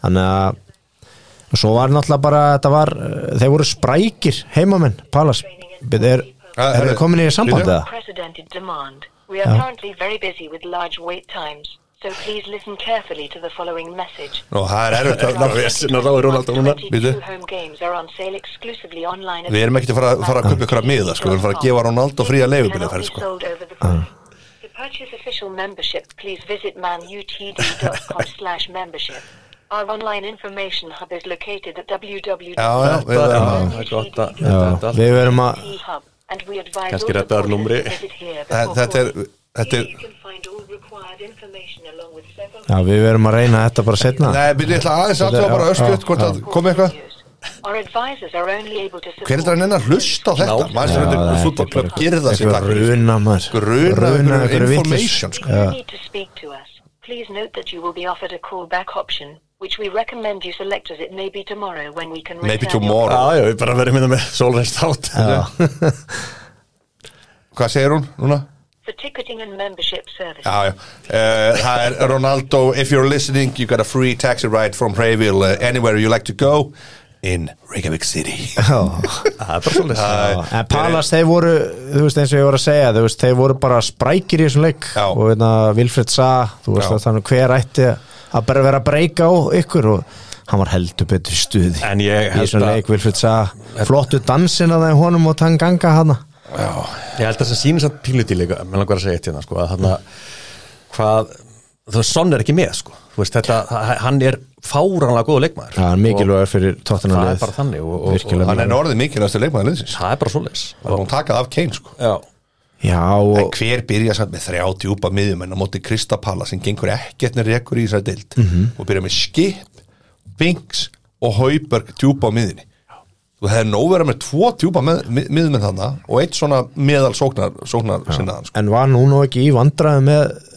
þannig að og svo var náttúrulega bara, þetta var uh, þeir voru sprækir heimamenn Pallas, Bíddu, er,
Ah,
er
herri,
þið komin í samband
Lilja?
eða?
unprecedented demand. We are currently very busy with large wait times, so please listen carefully to the following message.
nú, það er erfitt.
vesen að ráði Ronaldo núna.
22
Bíddu.
home games are on sale exclusively online at-
Við erum ekkert að fara, fara að köpa ykkur að miða, sko, við erum að fara að gefa Ronaldo fría leigubílaferð, sko.
Cannot be sold over the phone. The purchase official membership, please visit manutd.com slash membership. Our online information hub is located at
Já, já, við verðum
www.manutd.com
það er gott að
Já,
þetta er allt.
við verum að
hub and we advise
Kannski
all
reddaður
supporters
númri.
to visit here
Þa-
before
Þetta er,
calling.
þetta er
Here you can find all required information along with several
Já, við verum að reyna þetta bara setna
Nei, við ætla aðeins
Þetta-
aðtöða bara
já,
öskjöld
já,
hvort
já.
að komi eitthvað
Our advisors are only able to
Hver er það að nenni að hlusta á þetta?
Ná.
Maður
Já,
sem þetta er
þetta er
fútbolklöf,
bara-
gerði það sér
Eitthvað runa maður
Gruna einhverju
einhverju
information,
vitleys.
sko.
If
Já.
you need to speak to us, please note that you will be offered a callback option, which we recommend you select as it may be tomorrow when we can
Maybe
return your-
tomorrow.
Já, já, við bara verðum hérna með Solreins þátt
Já.
Hvað segir hún núna?
For ticketing and membership services.
Já, já Eh, Það er Ronaldo, if you're listening you got a free taxi ride from Hreyville uh, anywhere you like to go in Reykjavík City Eh,
Það er bara svolítið
Já.
En Palas, þeir voru, þú veist eins og ég voru að segja þú veist, þeir voru bara sprækir í þessum leik
Já.
og veitna, Vilfred sa, þú veist
Já.
að þannig hver ætti að bara vera að breyka á ykkur og hann var heldur betur í stuði
En ég
í
held
þessum
að-
leik, Vilfred sa flottu dansina það í honum og tann ganga hana
Ég held að það sýnir samt píluti líka Mér langar að segja eitt hérna sko, að þarna, Hvað Þú veist, Son er ekki með sko. Þú veist, þetta, h- Hann er fáránlega góð leikmaður
Já, hann er mikilvægur fyrir tóttina
Það er bara þannig og- og-
Virkilega
og-
Hann er
mikilvægur.
orðið mikilvægast til leikmaður liðsins
og Það er bara svoleiðis
Það er hún takað af Kane sko
Já,
Já,
En
og
hver byrja samt með þrjá djúpa miðjum en á móti Kristapala sem gengur ekkert með rekur í þessari dild
Mhm.
og byrja með skip, vings og hauberg djúpa á miðjunni og það er nóg verið með tvo djúpa með, mið, miðjum með þarna og eitt svona meðal sóknar, sóknar sinnaðan sko.
en var nú nú ekki í vandræði með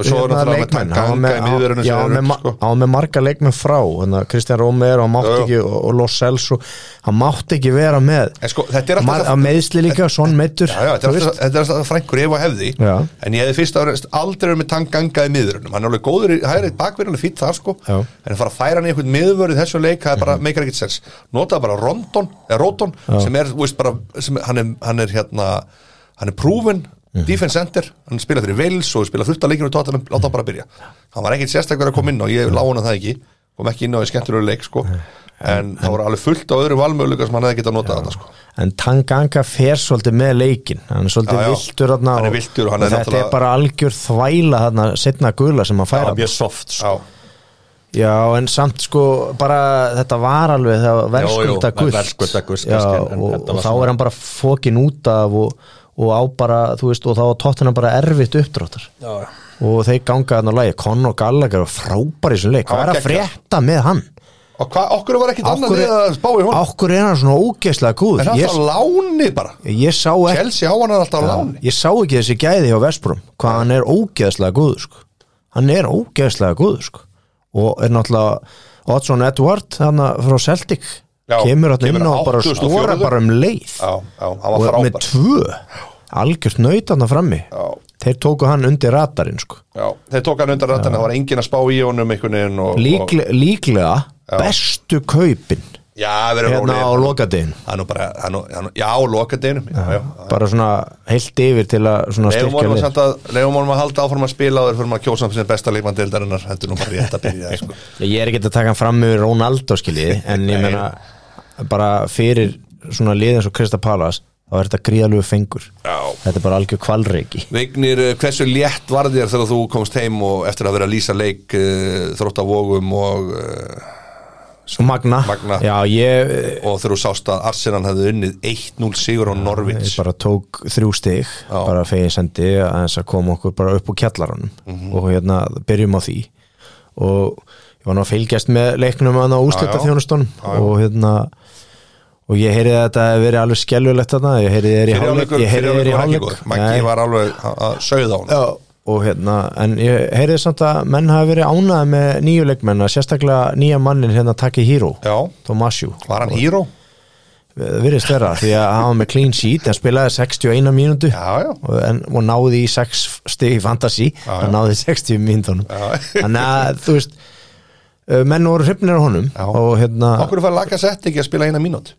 og svo er
hérna,
náttúrulega með
leikmenn, hann var
ganga í miðverðinu
með- já, hann
sem
var
er
með
upp sko.
hann var með marga leikmenn frá þannig að Kristján Rómer og mátti
Já, já.
ekki og, og Los Celso, hann mátti ekki vera með
En sko, þetta er alltaf
Mar-
það-
að meðsli líka, svon meittur
Já, já, þetta er alltaf- þetta er alltaf frænkur ef að hefði
Já.
en ég hefði fyrst að aldrei verið með tangganga í miðurunum hann er alveg góður, í- hægrið bakverðin alveg fýtt þar sko
Já.
en að fara að færa hann í einhvern miðvörð í þessu leik það er bara, meikar ekkert sens notaði bara Rondon, eða Róton sem er, þú veist bara, sem, hann, er, hann er hérna hann er prúfin defense center, hann spila fyrir Wales og spila fullt af leikinu tóttan, láta hann bara byrja hann var ekkert sérstaklega að koma inn á, ég lá hann það ekki kom ekki inn á í skemmtilegu leik sko en það voru alveg fullt á öðru valmöðluga sem hann hefði getað notað þetta sko
en Tanganga fer svolítið með leikin hann er svolítið
Já, já.
viltur þarna
Hann er
og-
villtur og hann er
þetta
náttúrulega-
er bara algjör þvæla þarna setna gula sem hann færa
mjög soft sko.
Já,
Já, en samt sko bara þetta var alveg það var verðskulda
Jú, jú,
gult
verðskulda gult,
Já,
kannski, en- en
og,
þetta var
og þá
svona-
er hann bara fókin út af og, og á bara, þú veist, og þá var tóttina bara erfitt uppdráttar
Já, já.
og þeir ganga hann á lagi, Conor Gallagher var frábær í þessum leik,
Hann
hvað
var
er að
geggjaður.
frétta með hann?
og hvað, okkur var ekkert annað
Okkur
við að spá í honum
okkur er hann svona ógeðslega
En
gúð
það er
ég,
alltaf láni bara
ég sá ekki
Chelsea á hann er alltaf láni
ég sá ekki þessi gæði hjá Vesprum hvað hann er ógeðslega góður sko. hann er ógeðslega góður sko. og er náttúrulega Oddsson Edward hann frá Celtic
Já,
kemur hann
kemur
inn og bara
804.
stóra bara um leið
Já, já, hann var
og með
frábær
tvö algjört nöyt hann frammi
Já.
þeir tóku hann undir radarinn sko.
já, Þeir tók hann undan rættan, það var engin að spá í honum einhvern veginn og, og
Líkle, líklega bestu kaupin
Já, verður
hérna á lokadeginum
Hann og bara, hann og, hann og, já, lokadeginum Já, já
bara svona heilt yfir til að
Leifum
svona styrkja
honum að
lið
senda, leifum honum að halda áfram að spila og þeir fyrir maður að kjósa hann sem besta leikmandeildarinnar heldur nú bara rétt að byrja sko.
Ég er ekkert að taka hann fram með Ronaldo skiljiði en ég
Nei.
meina bara fyrir svona lið eins og Krista Palas þá er þetta gríðalögu fengur
Já.
þetta er bara algjör kvalreiki
Vignir, eh, hversu létt var þér þegar þú komst heim og eftir að vera að lýsa leik uh, þróttavogum og, uh,
Magna,
Magna.
Já, ég, eh,
og þegar þú sást að Arsenal hefði unnið 1-0 sigur á
ég
Norvins
bara tók þrjú stig bara fegin sendi aðeins að koma okkur bara upp úr kjallaranum
Mhm.
og hérna byrjum á því og ég var nú að fylgjast með leiknum að úrslita þjónustónum og hérna og ég heyrði að þetta hefði verið alveg skelvilegt þarna, ég heyrði þeir í hálfleik
Fyrirháleikur
ég heyrði þeir í
var ekki
hálfleik
góður Maggi
Nei.
var alveg að- að sögða á hann
Já, og hérna, en ég heyrið samt að menn hafi verið ánaði með nýju leikmenn að sérstaklega nýja mannin hérna Taki Hiro,
Já,
Tomasju
var hann híró?
virðist vera því að hafa með clean sheet en spilaði 61 mínútu
Já, já
og, en, og náði í 6 stig í fantasy
já.
hann náði í 60 mínútunum
Já.
þannig að þú veist uh, menn voru hrifnir á honum
Já.
og hérna
Okkur fær laga sett ekki að spila eina mínút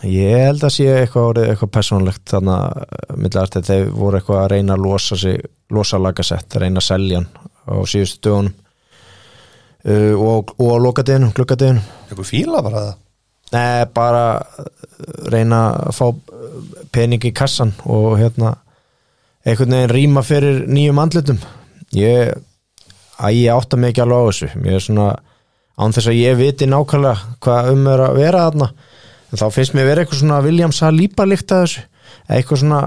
ég held að sé eitthvað orðið eitthvað persónlegt þannig að millast að þeir voru eitthvað að reyna að losa sig, losa lagasett reyna að selja hann á síðustu dögunum uh, og, og á lokadeginum, glukkadeginum
Ykkur fíla bara það
Nei, bara eh, uh, reyna að fá uh, pening í kassan og hérna einhvern veginn rýma fyrir nýjum andlutum ég, að ég átta mig ekki alveg á þessu ég er svona, án þess að ég viti nákvæmlega hvað um er að vera þarna en þá finnst mér vera eitthvað svona William Saliba líkt að þessu eitthvað svona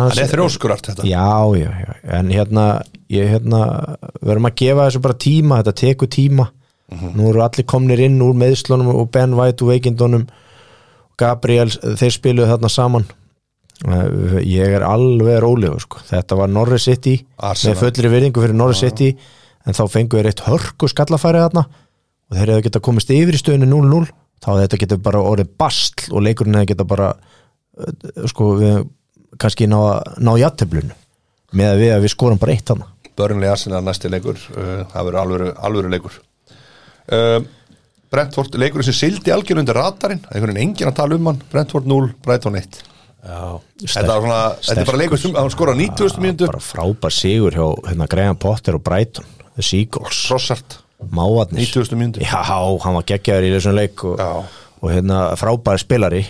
hann er þrjóskur allt þetta
Já, já, já, en hérna, ég, hérna verðum að gefa þessu bara tíma þetta tekur tíma nú eru allir komnir inn úr meðslunum og Ben White og veikindunum Gabriel, þeir spiluðu þarna saman Eh, ég er alveg rólegur sko. þetta var Norris City
Arsenal.
með fullri virðingu fyrir Norris City en þá fengu þeir eitt hörku skallafæri þarna og þeir hefðu geta komist yfir í stöðinu 0-0 þá hefði þetta geta bara orðið bastl og leikurinn hefði geta bara eh, sko við kannski ná, ná játtöflun með að við að við skorum bara eitt hana
Börnlega Arsenal næsti leikur uh, það verður alvöru, alvöru leikur uh, Brentford leikurinn sem sildi algjör undir radarinn einhvern veginn enginn að tala um hann Brentford 0, Brighton 1 þetta, var svona, þetta er bara leikur sem hann skora 90. mínútu
bara frábær sigur hjá hérna, Graham Potter og Brighton The Seagulls,
Trossart
mávarnir
90. mínútu
Já, hann var geggjaður í þessum leik og,
Já. Mhm.
og hérna frábæri spilari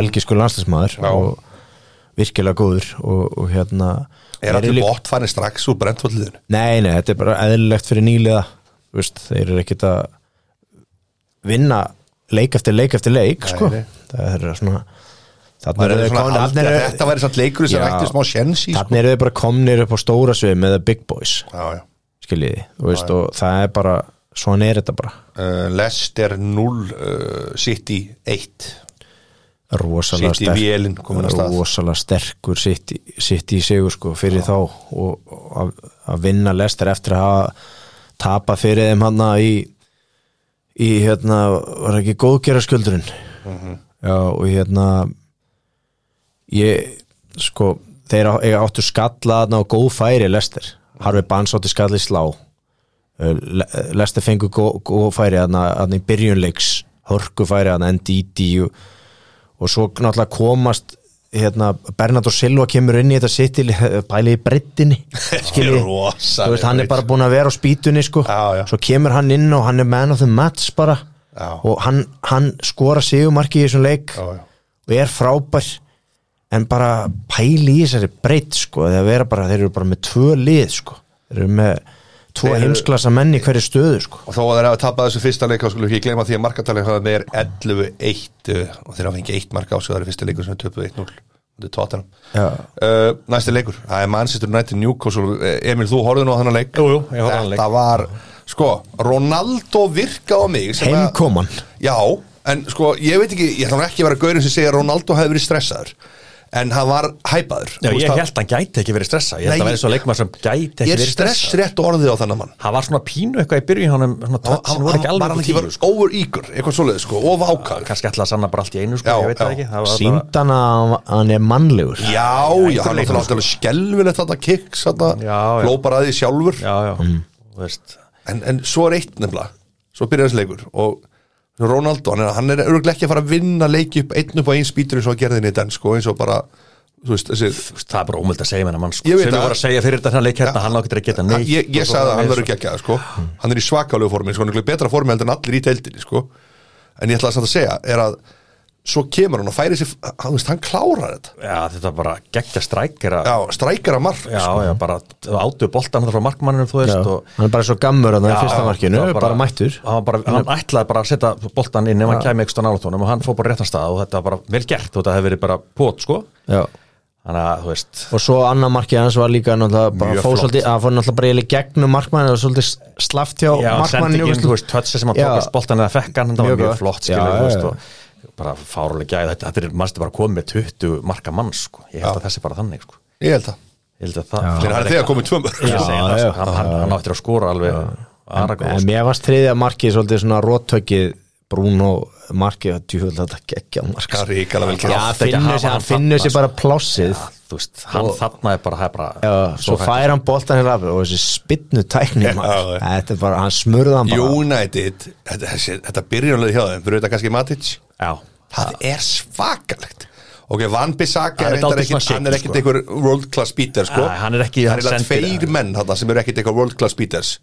belgisku landslismæður
Já.
og virkilega góður og, og hérna
er
þeir eru
allir
líka-
bótt fannir strax úr Brentford liðinu
Nei, nei, þetta er bara eðlilegt fyrir nýliða Vist, þeir eru ekkit að vinna leik eftir leik eftir leik sko.
nei.
það er svona þarna
Maður
eru
hefði
þeir
svona
komnir-
haldið
þarna
að
eru-
þetta væri samt leikurinn sem
Já.
ætti smá sjens í, sko.
þarna eru þeir bara komnir upp á stóra svið með the big boys
já, já.
skiljiði, þú veist, og það er bara svona er þetta bara
Uh, Leicester 0 uh, City 1
rosalega
City vélin komin af stað.
rosalega sterkur sitt, sitt í sigur sko fyrir þá og og að- að vinna lestir eftir að hafa tapa fyrir þeim hann í, í hérna var ekki góðgera skuldurinn já og hérna ég sko þeir á- eiga áttu skalla þarna og góð færi lestir Harfi Bans átti skalla í slá Uh, lestir fengu góð, góð færi þarna, þarna í byrjunleiks hörku færi þarna NDD og og svo náttúrulega komast hérna, Bernardo Silva kemur inn í þetta sitt bæli í breyttinni skiljiði.
Rosaleg
Þú veist, hann er
breidd.
bara búin að vera á spýtunni sko.
Já, já.
svo kemur hann inn og hann er man of the match bara
Já.
og hann, hann skora sigumarki í þessum leik
Já, já.
og er frábær en bara pæli í þessari breytt sko, þegar vera bara, þeir eru bara með tvö lið sko. þeir eru með tvo
Þeir eru-
heimsklassa menn í hverju stöðu sko.
og þó að þeir hafa tapað þessu fyrsta leika skulum ekki gleyma því að markatalið hafa meir 11-1 uh, og þeir hafa fengið eitt marka á sig það er fyrsta leikur sem er töpuð 1-0 þetta er tóttanum
Já.
uh, næsti leikur, það er Manchester United Newcastle Eh, Emil, þú horfðu nú á þannig leik
Jú, jú, ég horfði á þennan leik.
þetta var, sko, Ronaldo virka á mig sem að-
heimkoman
Já, en sko, ég veit ekki, ég ætla nú ekki að vera gaurinn sem segja að Ronaldo hefði verið stressaður en hann var hæpaður Þú
Já,
veist
ég
það-
held að hann gæti ekki verið stressa Ég held
Nei,
að verið svo leikmaður sem gæti ekki
er
verið stressa
stressrétt orðið á þannig mann
Hann var svona pínu eitthvað í byrju honum Svona
hann
touchin
var
voru ekki
hann
alveg
ekki sko.
tíu sko.
var over eager, eitthvað svoleiðis sko, of ákvæður
Kannski ætla að sanna bara allt í einu sko,
Já,
Ég veit það
já.
ekki það var bara-
síndan að hann- hann er mannlegur
Já, já, hann er alltaf skelvilegt þetta kicks, þetta
Já, já.
flópar að því sjálfur
Já, já,
Mm.
þú veist
en, en svo er eitt nefnilega, svo byrjar þessi leikur og Ronaldo, hann er, hann er örgulega ekki að fara að vinna leiki upp einn upp á einn spýtur eins og að gerði henni í den, sko, eins og bara þú veist, þessi,
Þú veist, Það er bara ómöld að segja menna mann sko.
Ég veit
Sem
það.
við voru að segja fyrir þetta hann leik hérna Hann á getur að geta neitt
ég, ég sagði að hann verður geggjað, sko
Hmm.
hann er í svakalegu formi, sko, hann er í betra formi heldur en allir í teildinni, sko en ég ætla samt að segja, er að svo kemur hann og færi sér, hann, þú veist, hann klárar þetta
Já, þetta var bara geggja strækera
já, sko. strækjara mark,
Já, já, bara átu boltan þarna frá markmanninu, þú
Já,
veist og
hann er bara svo gammur að það er
Já,
fyrsta markinu,
það var
bara, mættur
hann, var bara, hann ætlaði bara að setja boltan inn ef hann kæmi ekstra nálatónum og hann fór bara réttan stað og þetta var bara vel gert og þetta hefði verið bara pót sko
já.
þannig að þú veist
og svo annar markið hans var líka náttúrulega bara
Mjög
fór
flott.
svolítið, að fór náttúrulega bara í gegnum markmann og svolítið slaft hjá
já,
markmann
sendi ekki inn, þú veist, tötsi sem hann
Já.
tókast boltan eða fekkan, þetta
Mjög
var mjög
gott.
flott
Já,
skilur,
já,
þú veist
já.
og bara fárulega gæð, þetta, þetta er mannstu bara komið með 20 marka mann sko, ég held
Já.
að þessi bara þannig sko
ég held það
ég held að það,
þannig að það er þegar komið tvö mörg,
ég segi það,
Já,
sko,
já.
hann, hann, hann áttir að skora alveg sko. aðra
en mér varst þriðja markið svolítið svona róttökið Bruno markið, djúvel þetta geggja mark sko.
Það er ríkalega vel
já,
gert.
hann
Ekki hafa
finnur sér,
hann
hann finnur sér
þarna,
sko.
bara plássið já,
þú veist, hann þarna er bara, það er bara
svo
hræddur.
fær hann boltan hér af og þessi spinnu tækni
Já,
maður.
já.
þetta er bara, hann smurða hann bara
United, þetta, þessi, þetta byrjunlega hjá þeim, fyrir þetta kannski Matic
já,
það er svakalegt ok, Van Bissaka
Hann
er
er
reyndar
dálítið
ekkit-
svona
hann er
shaky,
ekkit
sko.
einhver world class beater sko.
Nei, hann er ekki-
það
hann
er
sendir-
tveir menn þarna sem eru ekkit eitthvað world class beaters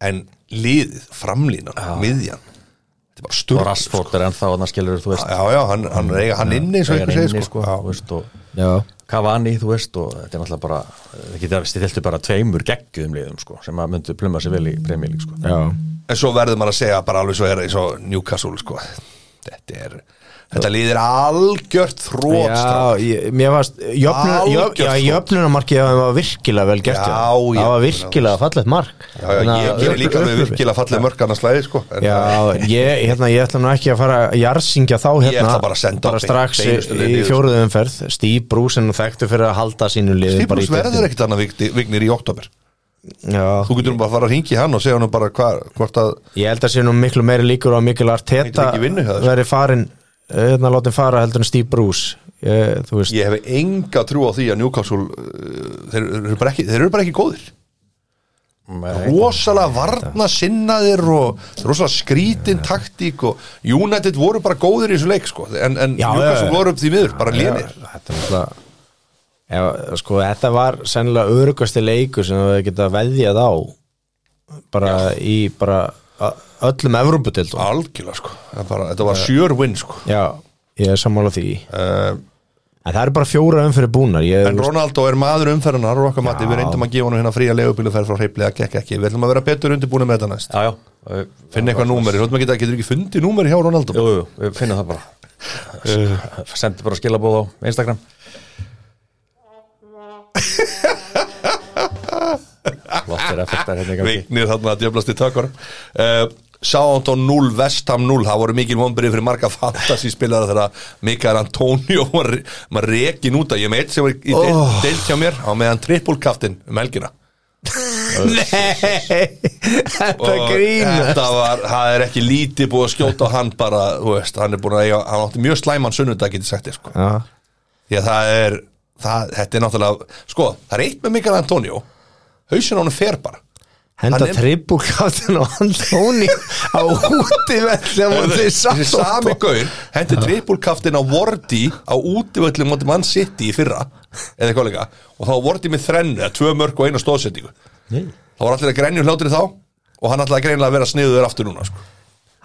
en liðið, framlínan, miðjan þetta er bara
og
sturg
Rashford er ennþá þannig skilur þú veist
já, já, hann, hann er eiga hann inni eins og
eiga
einhver segir
inni,
sko.
sko,
Já.
þú veist, og
já,
Cavani, þú veist, og þetta er náttúrulega bara það getur að stiltu bara tveimur geggjum liðum sko, sem að myndu pluma sér vel í premjölík sko.
Já,
En svo verður maður að segja bara alveg svo er eins og Newcastle sko Þetta er, þetta líðir algjört þrótt strákar.
já ég, mér varst jöfnun, jöf,
Algjört
já,
þrótt.
jöfnunamarkið það var virkilega vel gert
Já, já,
það var
já.
virkilega fallegt mark
Já, já,
Þannig
ég
að-
gef líka með
upplifun.
virkilega fallið mörkana slæði sko en,
Já, ég, hérna, ég ætla nú ekki að fara að jarðsingja þá hérna,
ætla bara að senda á beint-
strax í,
beinustu leið
í
niður.
fjóruðu umferð Steve Bruce er nú þekktu fyrir að halda sínu liði bara í
Stíplús verður
deildinni.
ekkert annað vigni- vignir í oktober
Já,
Þú getur nú bara að fara að ringi hann og segja hann bara hva, hvort að
ég held að sé nú miklu meiri líkur á mikil
Heitir
Arteta
ekki vinnu hjá þessu?
verið farin hérna látið fara heldur en Steve Bruce ég, þú veist,
ég hef enga trú á því að Newcastle uh, þeir, eru bara ekki, þeir eru bara ekki góðir Mm, rosalega varna sinnaðir og rosalega skrítin taktík og United voru bara góðir í þessu leik sko en, en
Já,
Newcastle
já, já.
voru upp því miður, bara lénir
þetta er náttúrulega Já, sko, þetta var sennilega örugasti leikur sem við geta veðjað á bara í bara ö- öllum Evróputildum
algjörlega sko, Það er bara, þetta var sjör win sko
Já, ég er sammála því Eh,
uh,
En það eru bara fjóra umfyrir búnar ég,
en Ronaldo er maður umferðanar og okkar mati, við reyndum að gefa hann hérna fría leigubílu ferð frá hreiplega, gekk ekki, við ætlum að vera betur undirbúinu með þetta næst,
Já, já, já
finna eitthvað númeri, hlutum að geta, getur ekki fundið númeri hjá Ronaldo
Jú, jú, við finnum
Uh.
það bara Sendi bara skilabóð á Instagram Flottir effektar hérna í gangi
Vignir þarna að djöflast í takkar uh, Southampton 0, Vestham 0 það voru mikil vonbyrði fyrir marga fantasy spilara þegar að Mikael Antonio var maður rekin út að ég meitt sem var í oh.
Oh.
deilt hjá mér á meðan trippulkaftin um helgina
Nei,
hérna
þetta
Og
grínast
þetta var, það er ekki lítið búið að skjóta á hann bara, þú veist, hann er búin að eiga, hann átti mjög slæman sunnudag, getið sagt þér sko
Já,
því að það er það, þetta er náttúrulega, sko, það er eitt með Mikael Antonio hausin á hann fer bara
Henda
Hann er-
trippulkáttin og Antoni á úti velli á móti
þessi sami gaur hendi trippulkaftin á Vordi á útivöllum moti mann City í fyrra eða eitthvað líka og þá var Vordi með þrennu eða tvö mörg og eina stóðsendingu
Nei.
þá var allir að grænju hlátri þá og hann ætlaði greinilega að vera sniður aftur núna sko.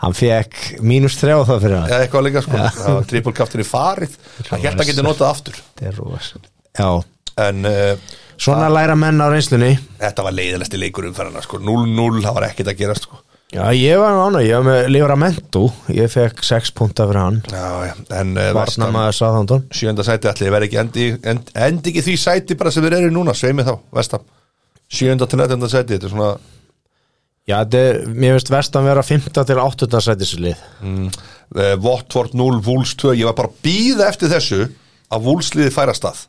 Hann fekk mínus þrjá það fyrir hann
eða eitthvað líka sko. það var trippulkaftin í farið hann hérna getur notað aftur
Þetta er rosa Já,
en uh,
svona læra menn á reynslunni
þetta var leiðilegsti leikur umferðina sko. 0-0, það var ekkert að gerast sko.
Já, ég var ána, ég var með Livramento Ég fekk 6 punta fyrir hann
já, já. en uh,
Varna maður sáðandun
sjönda sæti allir, verð ekki endi, end, endi ekki því sæti bara sem þeir eru núna, sveimi þá, vestam sjönda til nættenda sæti, þetta er svona
Já, þetta er, mér finnst vestan vera 15 til 8 sætislið
uh, Votford 0, Wolves 2 ég var bara að býða eftir þessu að Wolvesliði færa stað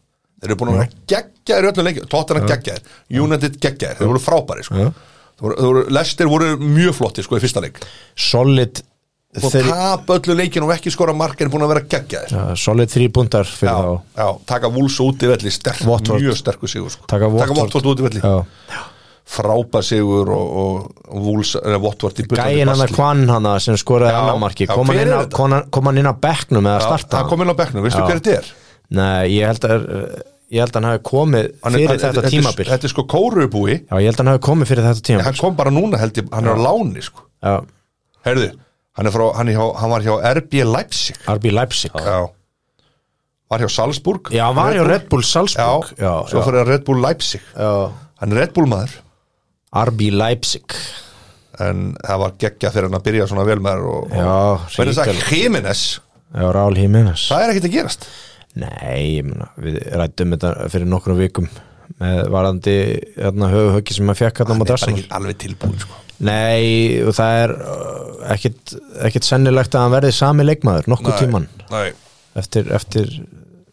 þeir eru búin að vera geggjaðir í öllum lengi Tottenham geggjaðir, United geggjaðir, þeir voru frábæri sko. þeir voru, þeir voru, Lester voru mjög flotti sko í fyrsta leik
Solid
og
þri-
tap öllu leikin og ekki skora mark en búin að vera geggjaðir
Já, Solid þrý búndar fyrir
Já,
þá
já, taka Wolves út í velli sterk,
Watford.
mjög sterkur sigur sko.
Taka Watford.
Watford út í velli
Já.
frábær sigur og, og, og Wolves, eða Votvort í bullandi
Gæin hann að
basli.
kvann hann sem skoraði
Já,
annar marki
já,
kom, hann
hver
inn
er
á-
þetta?
kom hann- kom hann inn á bekknum eða
Já,
starta
hann kom inn á bekknum, veistu
Já.
hver þetta er?
Nei, ég held að uh, ég held að hann hafi
Hann
komið
er-
fyrir
hann-
þetta
er-
tímabil
Þetta er sko kórubúi,
Já, ég held að hann hafi komið fyrir þetta tímabil
hann kom bara núna held ég, hann er á láni sko
Já,
Heyrðu, hann, er frá, hann, er hjá, hann var hjá RB Leipzig
RB Leipzig Já,
Já Var hjá Salzburg
hann var hjá
Bull.
Red Bull Salzburg
Já, svo
já,
fyrir að Red Bull Leipzig
já.
Hann er Red Bull maður
RB Leipzig
En það var geggja fyrir hann að byrja svona vel maður og,
Já,
og, Verður það
ríkalegt.
Jimenez,
Já, Rál Jimenez
það er ekkert að gerast
Nei, ég meina, við rættum þetta fyrir nokkrum vikum með varandi hérna, höfuhöggi sem maður fekk hérna á
Hann Ah, er
móti
bara
Arsenal.
ekki alveg tilbúin sko
Nei, og það er uh, ekkit, ekkit sennilegt að hann verði sami leikmaður nokkuð tíman
Nei,
eftir, eftir,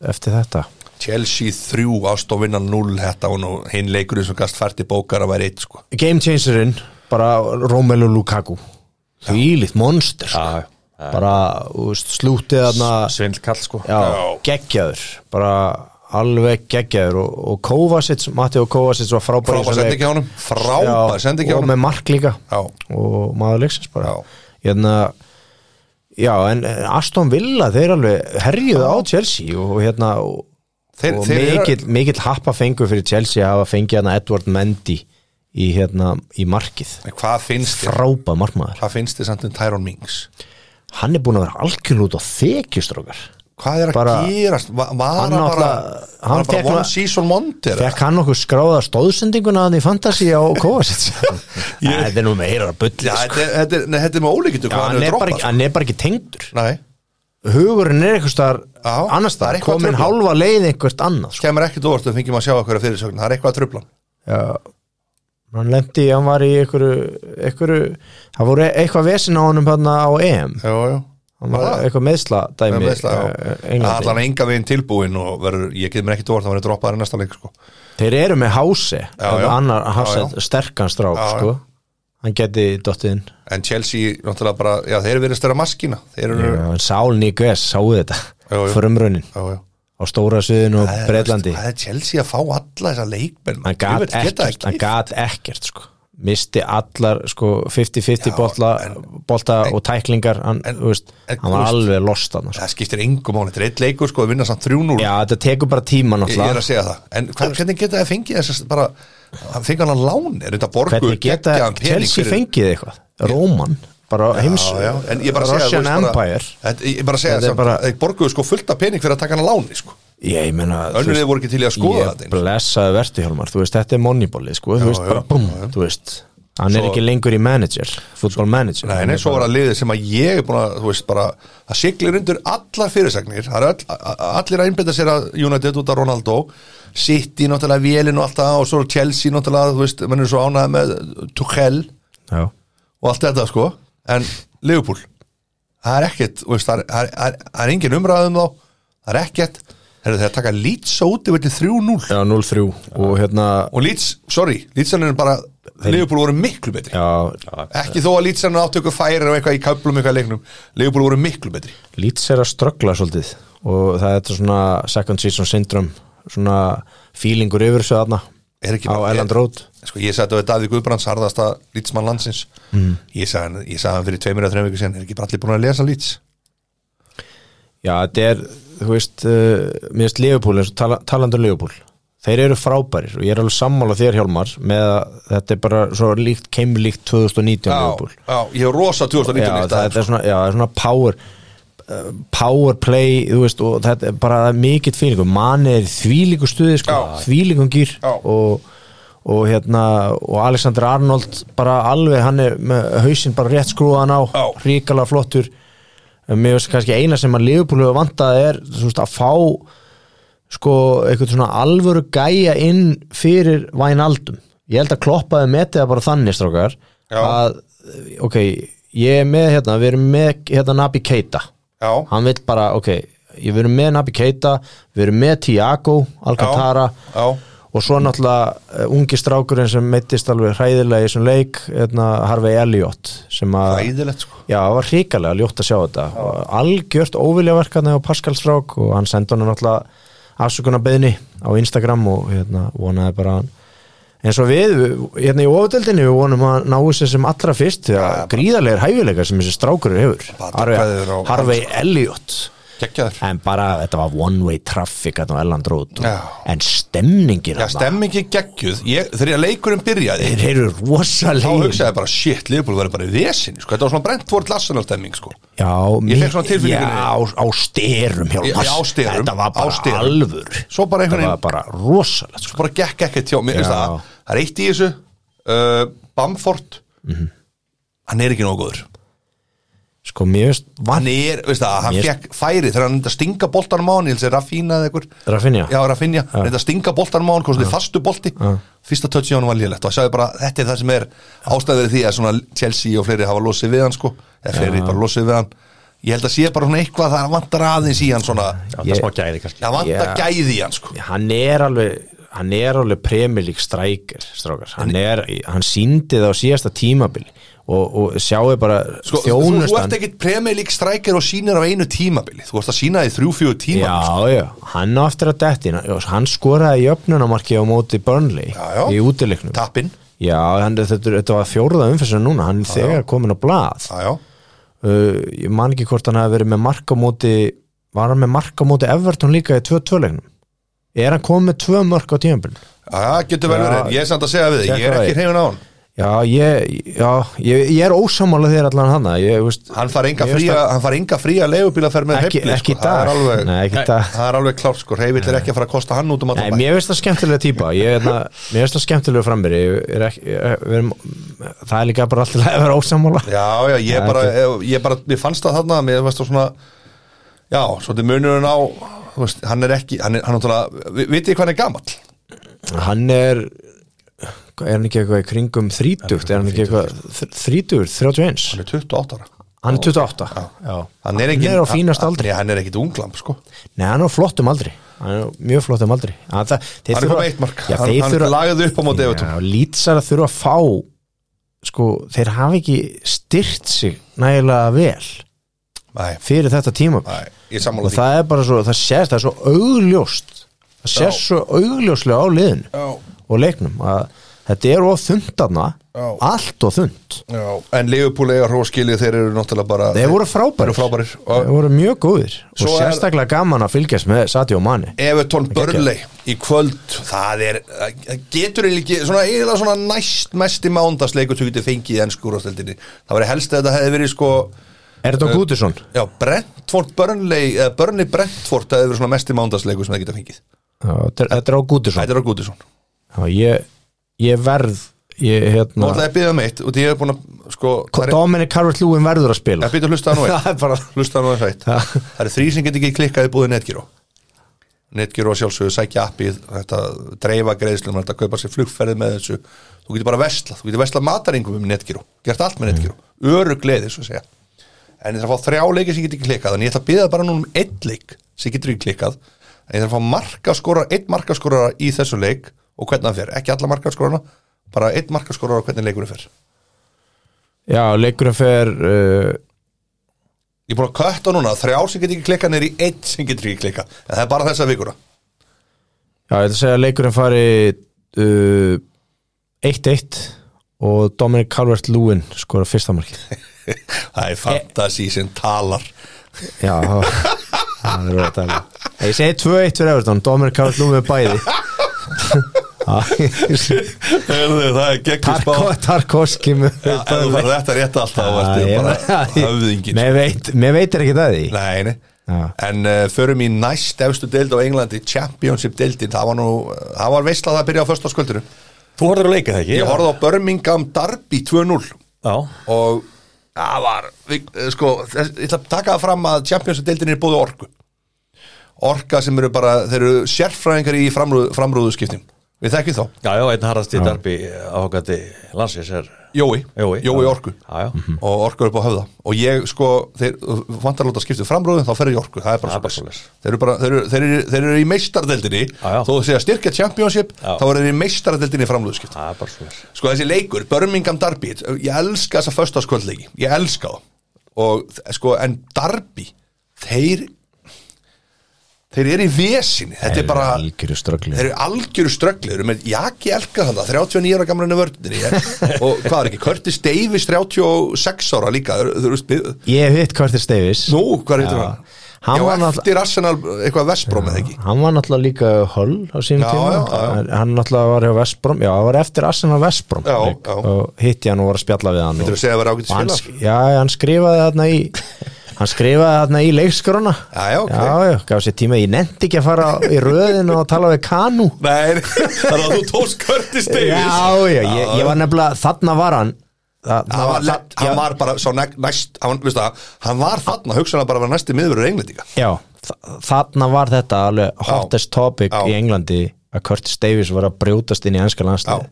eftir þetta
Chelsea 3, Ástofinnan 0 þetta og nú hinn leikurinn sem gast fært í bókar að væri eitt sko
Game changerinn, bara Romelu Lukaku þvílið monster
Já,
sko.
já. Það er
bara þú veist, slútið þarna
Ah.
Svindlkall sko
já, geggjaður bara alveg geggjaður og, og Kovacic, Matti og Kovacic var frábæri
Frábær sendingi á honum, frábær sendingi á
og
honum
með mark líka
Já,
og maður leiksins bara
Já.
hérna já en en Aston Villa þeir alveg herjuðu á Chelsea og hérna og,
þeir,
og
þeir eru-
mikill, mikill happa fengu fyrir Chelsea að hafa fengið hérna Edward Mendy í hérna í markið
En Hvað finnst þér?
frábæð markmaður
Hvað finnst þér samt um Tyrone Mings?
hann er búin að vera algjörn út á þekjustrókar
hvað er að
Bara-
gerast Va- var hann
Hann
bara,
náttúrulega-
var
hann
hann bara
fékk
one
na-
season wonder eða?
Fekk hann okkur skráða stóðsendinguna þannig í Fantasí á Kovacic Það er nú meira að
Já,
bulli sko.
þetta er- þetta er- nei, þetta er sko. með ólíkitu
Já,
hvað hann
hann, er
hefur
bara ekki,
droppað
hann er bara ekki tengdur
Nei,
Hugurinn er einhvers staðar
Já,
annars
það er
staðar
eitthvað
komin
truflað.
hálfa leið einhvert annað sko.
kemur ekkert óvart við fengjum að sjá okkur að fyrirsögn það er eitthvað að trubla hann.
Já, hann lendi, hann var í einhverju, einhverju það voru eitthvað vesin á honum hann á EM
Jú, jú.
hann var
Var það?
eitthvað meðsla
Ah. Með
dæmi
meiðsla, já. allan
Englandi
enga veginn tilbúin og verður, ég getur mér ekkert óvart að hann er droppaður í næsta leik sko.
þeir eru með Háse
já.
annar Háse,
Já,
sterkan strák
Já, já.
sko. hann geti dottiðinn
en Chelsea, náttúrulega bara, já þeir eru verið störa maskína þeir eru, já,
Sál Níkves, sáu þetta
Já, já.
frumraunin
já
á stóra suðinu og
Það er-
Breitlandi
það er Chelsea að fá alla þessa leikmenn
hann gat
Ég veit, geta
ekkert, hann gat ekkert sko. misti allar sko, 50-50
Já,
bolta, bolta og tæklingar hann,
en-
þú veist,
en-
hann var
þú
alveg lost hann sko.
það skiptir engum máli, þetta er eitt leikur sko að vinna samt 3-0
já, þetta tekur bara
Ég
tíma
ég er að
náttúrulega
segja það, en hver, hvernig geta það fengið þess að bara, hann fengið hann að lán er þetta borgu,
hvernig geta
geggjaðan pening
Chelsea
fyrir-
fengið eitthvað Róman, bara heims
Já, já, en ég bara að segja,
Russian
þú veist, bara-
Empire
Þetta- Ég bara að segja
Þetta er
þess
bara-
að þeir borguðu sko fullta pening fyrir að taka hann að láni sko
ég, ég meina þú
Önnur
veist,
þið voru ekki til í að skoða þetta
ég
einu sinni.
blessaði verti Hjálmar, þú veist, þetta er moneyballi sko, þú veist,
já,
bara búm, þú veist hann er
Svo-
ekki lengur í manager, football manager
Nei,
Hann
nei,
er
svo
bara-
var það liðið sem að ég er búin að, þú veist, bara það siglir undir allar fyrirsagnir það er öll, a- a- allir að einbetta sér að United út af Ronaldo City náttúrulega Vélin og allt það og svo Chelsea náttúrulega, þú veist, mann er svo ánægð með Tuchel
já,
og allt þetta sko en Liverpool það er ekkert, þú veist, það er, það er, það er, það er engin umræðum þá, það er ekkert Heyrðu, þegar taka Leeds á útivillir 3-0
já 0-3 og hérna
og Leeds, sorry, Leeds er bara Liverpool voru miklu betri
já,
ekki þó að Leeds er áttöku færi og eitthvað í kaplum eitthvað leiknum, Liverpool voru miklu betri
Leeds er að ströggla svolítið og það er þetta svona second season syndrome svona feelingur yfir þessu þarna
Er ekki
á
bara-
Elland
er-
Road
sko, ég sagði þetta við Davík Guðbrands harðasta lýtsmann landsins mm. ég, sagði, hann- ég sagði hann fyrir tveimur að þreim viku síðan er ekki bara allir búin að lesa lýts
Já, þetta er, þú veist uh, mér finnst Leopold, eins og tala, talandur Leopold þeir eru frábærir og ég er alveg sammála þér Hjálmar með að þetta er bara svo líkt, kemur líkt 2019 Leopold
já, ég er rosa 2019
já,
í
það,
dag,
er svona, já, það er svona power uh, power play, þú veist og þetta er bara mikill fílingur manni er í þvílíku stuði, sko,
Já.
þvílíkum gýr
Já.
og, og hérna og Alexander Arnold bara alveg hann er með hausinn bara rétt skrúðan á
Já.
ríkala flottur En mér veist kannski eina sem að Liverpool hefur vantað er þú veist, að fá sko eitthvað svona alvöru gæja inn fyrir Vænaldum ég held að kloppaði metið það bara þannig strákar
Já.
að ok, ég er með hérna, við erum með hérna Nabi Keita
já,
hann vil bara, ok, ég við erum með Nabi Keita við erum með Tiago Alcantara
já,
og svo náttúrulega eh, ungi strákurinn sem meittist alveg hræðilega í þessum leik hérna Harvey Elliot sem að
æðilegt sko
Já, það var hrikalega ljótt að sjá þetta og algjört óviljaverkarni á Pascal Strák og hann sendi honum náttúrulega afsökunarbeðni á Instagram og hérna, vonaði bara hann eins og við, við- hérna í ofadeldinni við vonum að ná þessu sem allra fyrst því að gríðarlegar hæfileika sem þessi strákur hefur
Bara
Harvey,
kveður á-
Harvey Elliot
geggjaður
en bara þetta var one way traffic hérna á Elland Road og,
Já.
en stemningin
já, stemmingi geggjuð, ég, þegar leikurinn byrjaði
þeir eru
þá
rosalegir
hugsaði ég bara, shit, Liverpool verður bara í vesin sko. þetta var svona Brentford Arsenal stemming sko
Já,
Ég
mi-
fékk svona tilfinninguna.
Já, á, á styrum Hjálmar
Já, á styrum,
Þetta
á
var bara
styrum.
alvör
Svo bara einhvern
Þetta var
veginn-
bara rosalegt sko.
bara gekk ekkert hjá mér
Já.
veist það, það er eitt í þessu uh, Bamford
Mhm.
hann er ekki nógu góður
sko, mér veist
hann
vann
er, veist það, hann
Mér-
fekk færi þegar hann reyndi að stinga boltanum á hann, ég held sér Raffína eða einhver,
Rafinha?
já Rafinha, reyndi að stinga boltanum á hann, komst þið fastu bolti fyrsta touchi á hann var lélegt og það sagði bara, þetta er það sem er ástæður því að svona Chelsea og fleiri hafa losið við hann sko, eða fleiri bara losið við hann ég held að sé bara svona eitthvað það vantar aðeins í hann svona,
Ég-
Já, það er smá gæði kannski
það vantar
Já.
gæði í hann sko
Hann er alveg Hann er alveg premilík strækir strákar. Hann, er, hann síndi það á síðasta tímabili og, og sjáu bara
Sko, þú, þú ert
þjónustan
ekkit Premier League strækir og sýnir á einu tímabili Þú ert að sína því þrjú-fjögur tímabili sko.
Já, já, hann á eftir að detti hann skoraði jöfnunamarki á móti Burnley
Já, já.
í útileiknum
Tappinn,
Já, hann, þetta, þetta var fjórða umfyrsum núna hann er þegar komin á blað
já, já
uh, ég man ekki hvort hann hafi verið með markamóti var hann með markamóti Everton líka í 2-2 leiknum er hann komið með tvö mörg á tímanbyrn
Já, getur vel
Já.
verið, ég er samt að segja við þig, ég er
Tekka
ekki
það í.
hreyfin á hann
Já, ég, já, ég, ég er ósámála þegar allan hana ég, veist,
Hann far enga
Mér finnst
fría, hann far enga fría leigubílaferð með
ekki,
hefli,
ekki í
sko. Það er
dag
alveg,
Nei, ekki í dag
það er alveg klárt, sko, reyfill er ekki að fara að kosta hann út um
Nei,
allan bæ.
mér finnst það skemmtilega típa ég, hérna, Mér finnst það skemmtilega framir ég, er ekki, ég, við erum, Það er líka bara alltaf að vera ósámála
Já, já, ég
Nei,
bara, ég, ég bara, ég fannst það þarna, mér veist það svona, já, svolítið munurinn á, þú veist, hann er ekki, hann er, hann náttúrulega, vi- vitið þið hvað hann er gamall?
Hann er hvað, Er hann ekki eitthvað í kringum þrítugt Er hann ekki eitthvað þrítugur, 31
Hann er 28 ára.
Hann er 28 Já.
Hann er ekki,
á fínast aldri
Hann, hann er ekki unglam, sko.
Nei, hann er á flottum aldri Hann er á mjög flottum aldri Hann það- þeir
Hann er
þurfa-
komið eitt mark,
Já,
hann,
þeir
hann
þurfa-
lagaði upp á móti Evertón.
Já, lýtsar að þurfa að fá sko, þeir hafa ekki styrt sig nægilega vel
Nei,
fyrir þetta tíma
nei, ég sammála
og
því.
það er bara svo, það sést, það er svo augljóst það sést svo augljóslega á liðinu
Já,
og leiknum að þetta er of þund aðna
Já.
allt of þund
já, en Leopold eiga hróskilið, þeir eru náttúrulega bara,
þeir voru frábærir,
eru frábærir.
þeir
Og
voru mjög góðir
Svo
og
er-
sérstaklega gaman að fylgjast með Sati og Mani
Evertón Börley í kvöld, það er, það getur eiginlega ekki, svona eiginlega svona næst mesti mándagsleikur sem þú getur fengið í ennsku úrvastöldinni. Það var helst að þetta hefði verið sko,
Erdo Gútusson
já, Brentford Börnley, eða Börnley Brentford það hefði verið svona mesti mándagsleikur sem það getur fengið.
þetta er á Gútusson
Þetta er á Gútisson.
ég, ég verð ég,
Nú
hérna,
ætlaði að byggja um eitt og því ég hef búin að, sko, það er-
Dominic Carver-Lewin verður að spila
ég byrja að hlusta það nú eitt.
það er bara
hlusta nú þess eitt
Ha.
það eru þrý sem get ekki klikkað í búið Netgyro Netgyro sjálfsögðu sækja appið þetta dreifa greiðslum þetta kaupa sér flugferði með þessu þú getur bara vesla, þú getur vesla mataringum um Netgyro gert allt með Netgyro, örug leiði svo að segja en ég þarf að fá þrjá leiki sem get ekki klikkað en ég ætla að byrja bara núna um einn leik sem getur ekki klikkað en ég þarf að fá markaskora, einn markaskora í þessu leik og hvernig hann fer, ekki alla markaskorana bara einn markaskora og hvernig leikurinn fer
já, leikurinn fer uh,
Ég er búin að kötta núna, þrjár sem getur ekki klikka niður í einn sem getur ekki klikka En það er bara þessa vikuna
já, ég ætla að segja að leikurinn fari uh, 1-1 og Dominic Calvert-Lewin skora fyrsta markið
Það er fantasi sem talar
já, það það er verið að tala ég segi 2-1 fyrir Everton, Dominic Calvert-Lewin bæði
Heyrðu, Það er geggjum spá
Tarko, Tarkovski með
Já, Ef þú verður þetta rétt alltaf þá ertu bara höfðingin
með veit, mér veitir ekki það því
Nei, nei
Já.
En uh, förum í næst efstu deild á Englandi Championship deildin, það var nú eh, Það var veistlað að byrja á föstaskvöldinu
Þú horfður að leika það ekki?
Ég horfði á Birmingham Derby 2-0
Já,
Og það var við- eh, Sko, þess- ég ætla að taka það fram að Championship deildin er búið orku Orka sem eru bara, þeir eru sérfræðingar í framrúð, framrúðuskiptum Við þekkjum þá
já, já einn harðast í darbi áhugandi landsins er
Jói,
Jói,
Jói
já. Hmm.
Orku Mhm.
Já, já.
og Orku er upp á höfða og ég sko, þeir þú vantar að láta skiptið framrúðum þá ferði í Orku, það er bara
Það er bara
svoleiðis.
svoleiðis.
þeir eru bara, þeir eru, þeir eru, þeir eru í meistardeldinni
Já, já.
þó þú segja styrkja championship
Já.
þá eru þeir í meistardeldinni framrúðuskipt
Það er bara svona
sko þessi leikur, Birmingham Darby ég elska þessa föstaskvöldleiki, ég elska það og sko, en Darby þeir þeir eru í vesinni, þetta er bara
Algjöru ströggli.
Þeir eru algjöru ströggli, þeir eru með Jaki Elka þannig, 39 ára gamla henni vördinni og hvað er ekki, Curtis Davis 36 ára líka þeir, þeir, þeir,
ég hef hitt Curtis Davis
Nú, hvað heitir
Já.
hann?
Hann
Já,
var náttúrulega-
eftir Arsenal, eitthvað Vestbrom eða ekki
hann var náttúrulega líka höll á sínum
Já,
tíma
já, já,
hann náttúrulega var hjá Vestbrom já, hann var eftir Arsenal Vestbrom
Já,
leik
já.
og hitti hann og var að spjalla við hann
Þú
og,
segja að vera ágætis
og hann,
félag
sk- já, hann skrifaði þarna í hann skrifaði þarna í leikskrona
Já, já, ok.
já, já, gaf sér tíma ég nefndi ekki að fara í röðin og tala við kanu
Nei, þannig að þú tóst Curtis
já,
Davis
já, ég, ég var nefnilega þarna var hann Þa,
Hann var, lett, hann var bara svo næ- næst hann, veistu það, hann var þarna hugsanlega bara að vera næsti miðurur englendinga
já, þa- þarna var þetta alveg hottest topic
já.
í Englandi að Curtis Davis var að brjótast inn í enska landslið
Já.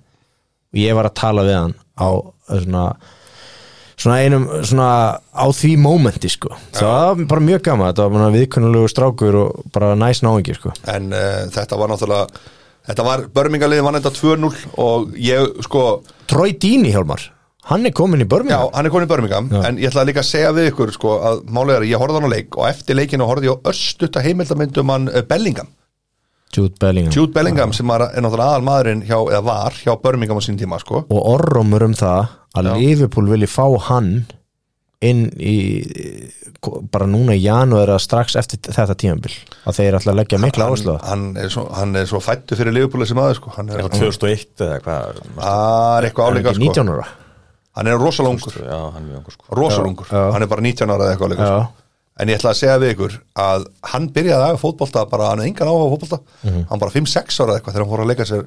og ég var að tala við hann á eh, svona svona einum, svona á því mómenti sko, það var bara mjög gaman þetta var bara viðkunnulegu strákur og bara næs náingi sko,
en uh, þetta var náttúrulega þetta var, Börmingaliði vann þetta 2-0 og ég sko
Troy Dini Hjálmar hann er komin í
Já,
Birmingham
hann er konið Birmingham, en ég ætla líka að segja við ykkur sko, að málega er að ég horfði á hann á leik og eftir leikinu horfði ég á örstutta heimildamyndum hann eh, Bellingham,
Jude Bellingham
Jude Bellingham sem er, er náttúrulega aðal maðurinn hjá, eða var hjá Birmingham á sín tíma sko.
og orrumur um það að Liverpool vilji fá hann inn í eh, bara núna í janúar eða strax eftir þetta tímabil að þeir ætla að leggja mikla áherslu á það.
hann er svo, hann er svo fættu fyrir Liverpool sem aður sko hann er,
Eitthvað 2001 eða hvað
það er eitthvað
Er
áleika
ekki
sko
19 ára
hann er rosalungur,
Já, hann er mjög ungur sko
rosalungur hann er bara 19 ára eða eitthvað áleika
Já.
sko. en ég ætla að segja við ykkur að hann byrjaði að fótbolta bara, hann er engan áhuga á fótbolta hann bara 5-6 ára eða eitthvað þegar hann fór að leika sér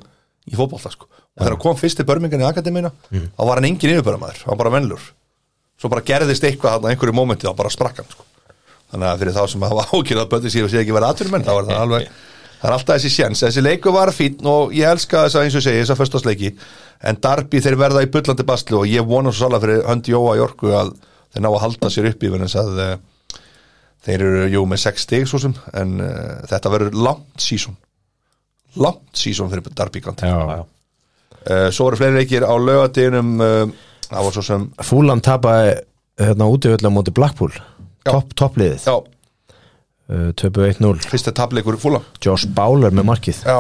í fótbolta sko og þegar hann kom fyrst til börmingan í akademina þá var hann engin yfirbörðamæður, hann var bara vennlur svo bara gerðist eitthvað þarna á einhverju mómenti þá bara sprakk hann sko þannig að fyrir þá sem hafa ákjörð að bönni síðan sé ekki verið aðturumenn þá er það alveg það er alltaf þessi sjens, þessi leiku var fín og ég elska þess að eins og ég segi þess að föstasleiki en Darby þeir verða í bullandi basli og ég vona svo svolga fyrir hönd Jóa Jorku að þeir ná að halda sér upp í verðins að eh, þeir eru jú með 6 stig svo sem en uh, þetta verður langt sísón langt sísón fyrir Darby kanti uh,
Já, já.
svo eru fleiri leikir á lögadeginum uh, það var svo sem
Fúlan tapaði hérna útivöldlega móti Blackpool Topp- toppliðið
já,
uh, töpu 1-0
fyrsta tapleikur fúla
Josh Bowler með markið
Já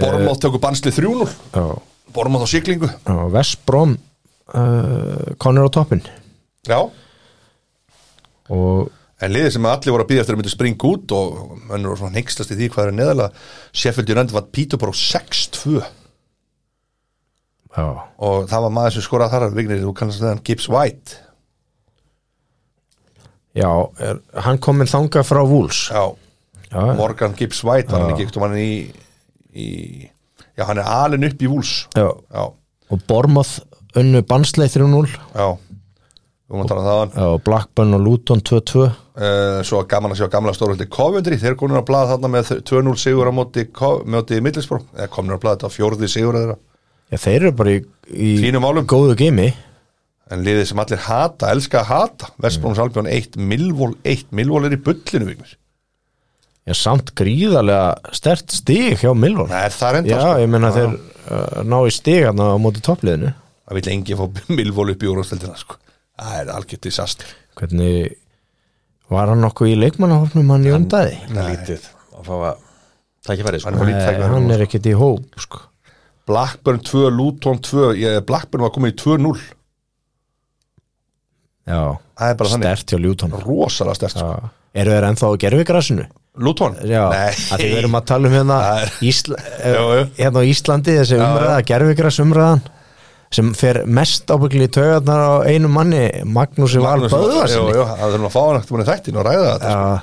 Bormóð tökur bansli 3-0
Já.
Bormóð á siglingu
og West Brom uh, Connor á toppin
Já
og
En liðið sem allir voru að býða eftir að myndu springa út og mönnur voru svona hneykslast í því hvað er neðalega Sheffield United var Peterborough 6-2
já,
og það var maður sem skorað þar Vignir, þú kannast það hann Gibbs White
já er, hann kominn þangað frá Wolves
Já,
já,
Morgan Gibbs White var hann ekki ekkert og hann í, í Já, hann er alin upp í vúls
já.
Já,
og Bormoth unnu Bansley 3-0
já Við máum að tala um það hann
og Blackburn og Luton 2-2
uh, svo gaman að sjá gamla stóröldi Coventry, þeir komin að blaða þarna með 2-0 sigur á móti, Co- móti Middlesbrough, eða komin að blaða þetta á fjórði sigur þeirra,
já, þeir eru bara í, í
fínum álum
góðu geimi
en liðið sem allir hata, elska að hata Vestbróns mm. Albjörn 1, Milvól 1 Milvól er í bullinu viknir
já, samt gríðarlega stert stig hjá Milvon
það sko. er það reynda,
já, ég menna
Já.
þeir uh, ná í stig hann á móti toppliðinu
það vil engi fá Milvól upp í úrvarsdeildina, sko það er algjört disaster
hvernig var hann nokkuð í leikmannahofnum hann í undaði
Lítið að fá að Tækifæri
Hann var
sko
lítið tækifæri,
Eh, hann er ekkert í hóp sko.
Blackburn 2, Luton 2 ég, Blackburn var komið í 2-0
já,
það er bara þannig,
stert hjá Luton
rosalega stert sko.
Já. eru þeir ennþá á gerfigrasinu?
Luton?
Já,
Nei,
að því við erum að tala um hérna,
Það er-
Ísla,
Jú, jú.
hérna á Íslandi þessi umræða, gerfigras umræðan sem fer mest ábyggli í taugarnar á einu manni, Magnúsi Val
Magnús- Jú,
Böðvarsinni
jú, það þurfum að fá hann eftir manni þættin og ræða þetta sko.
Já,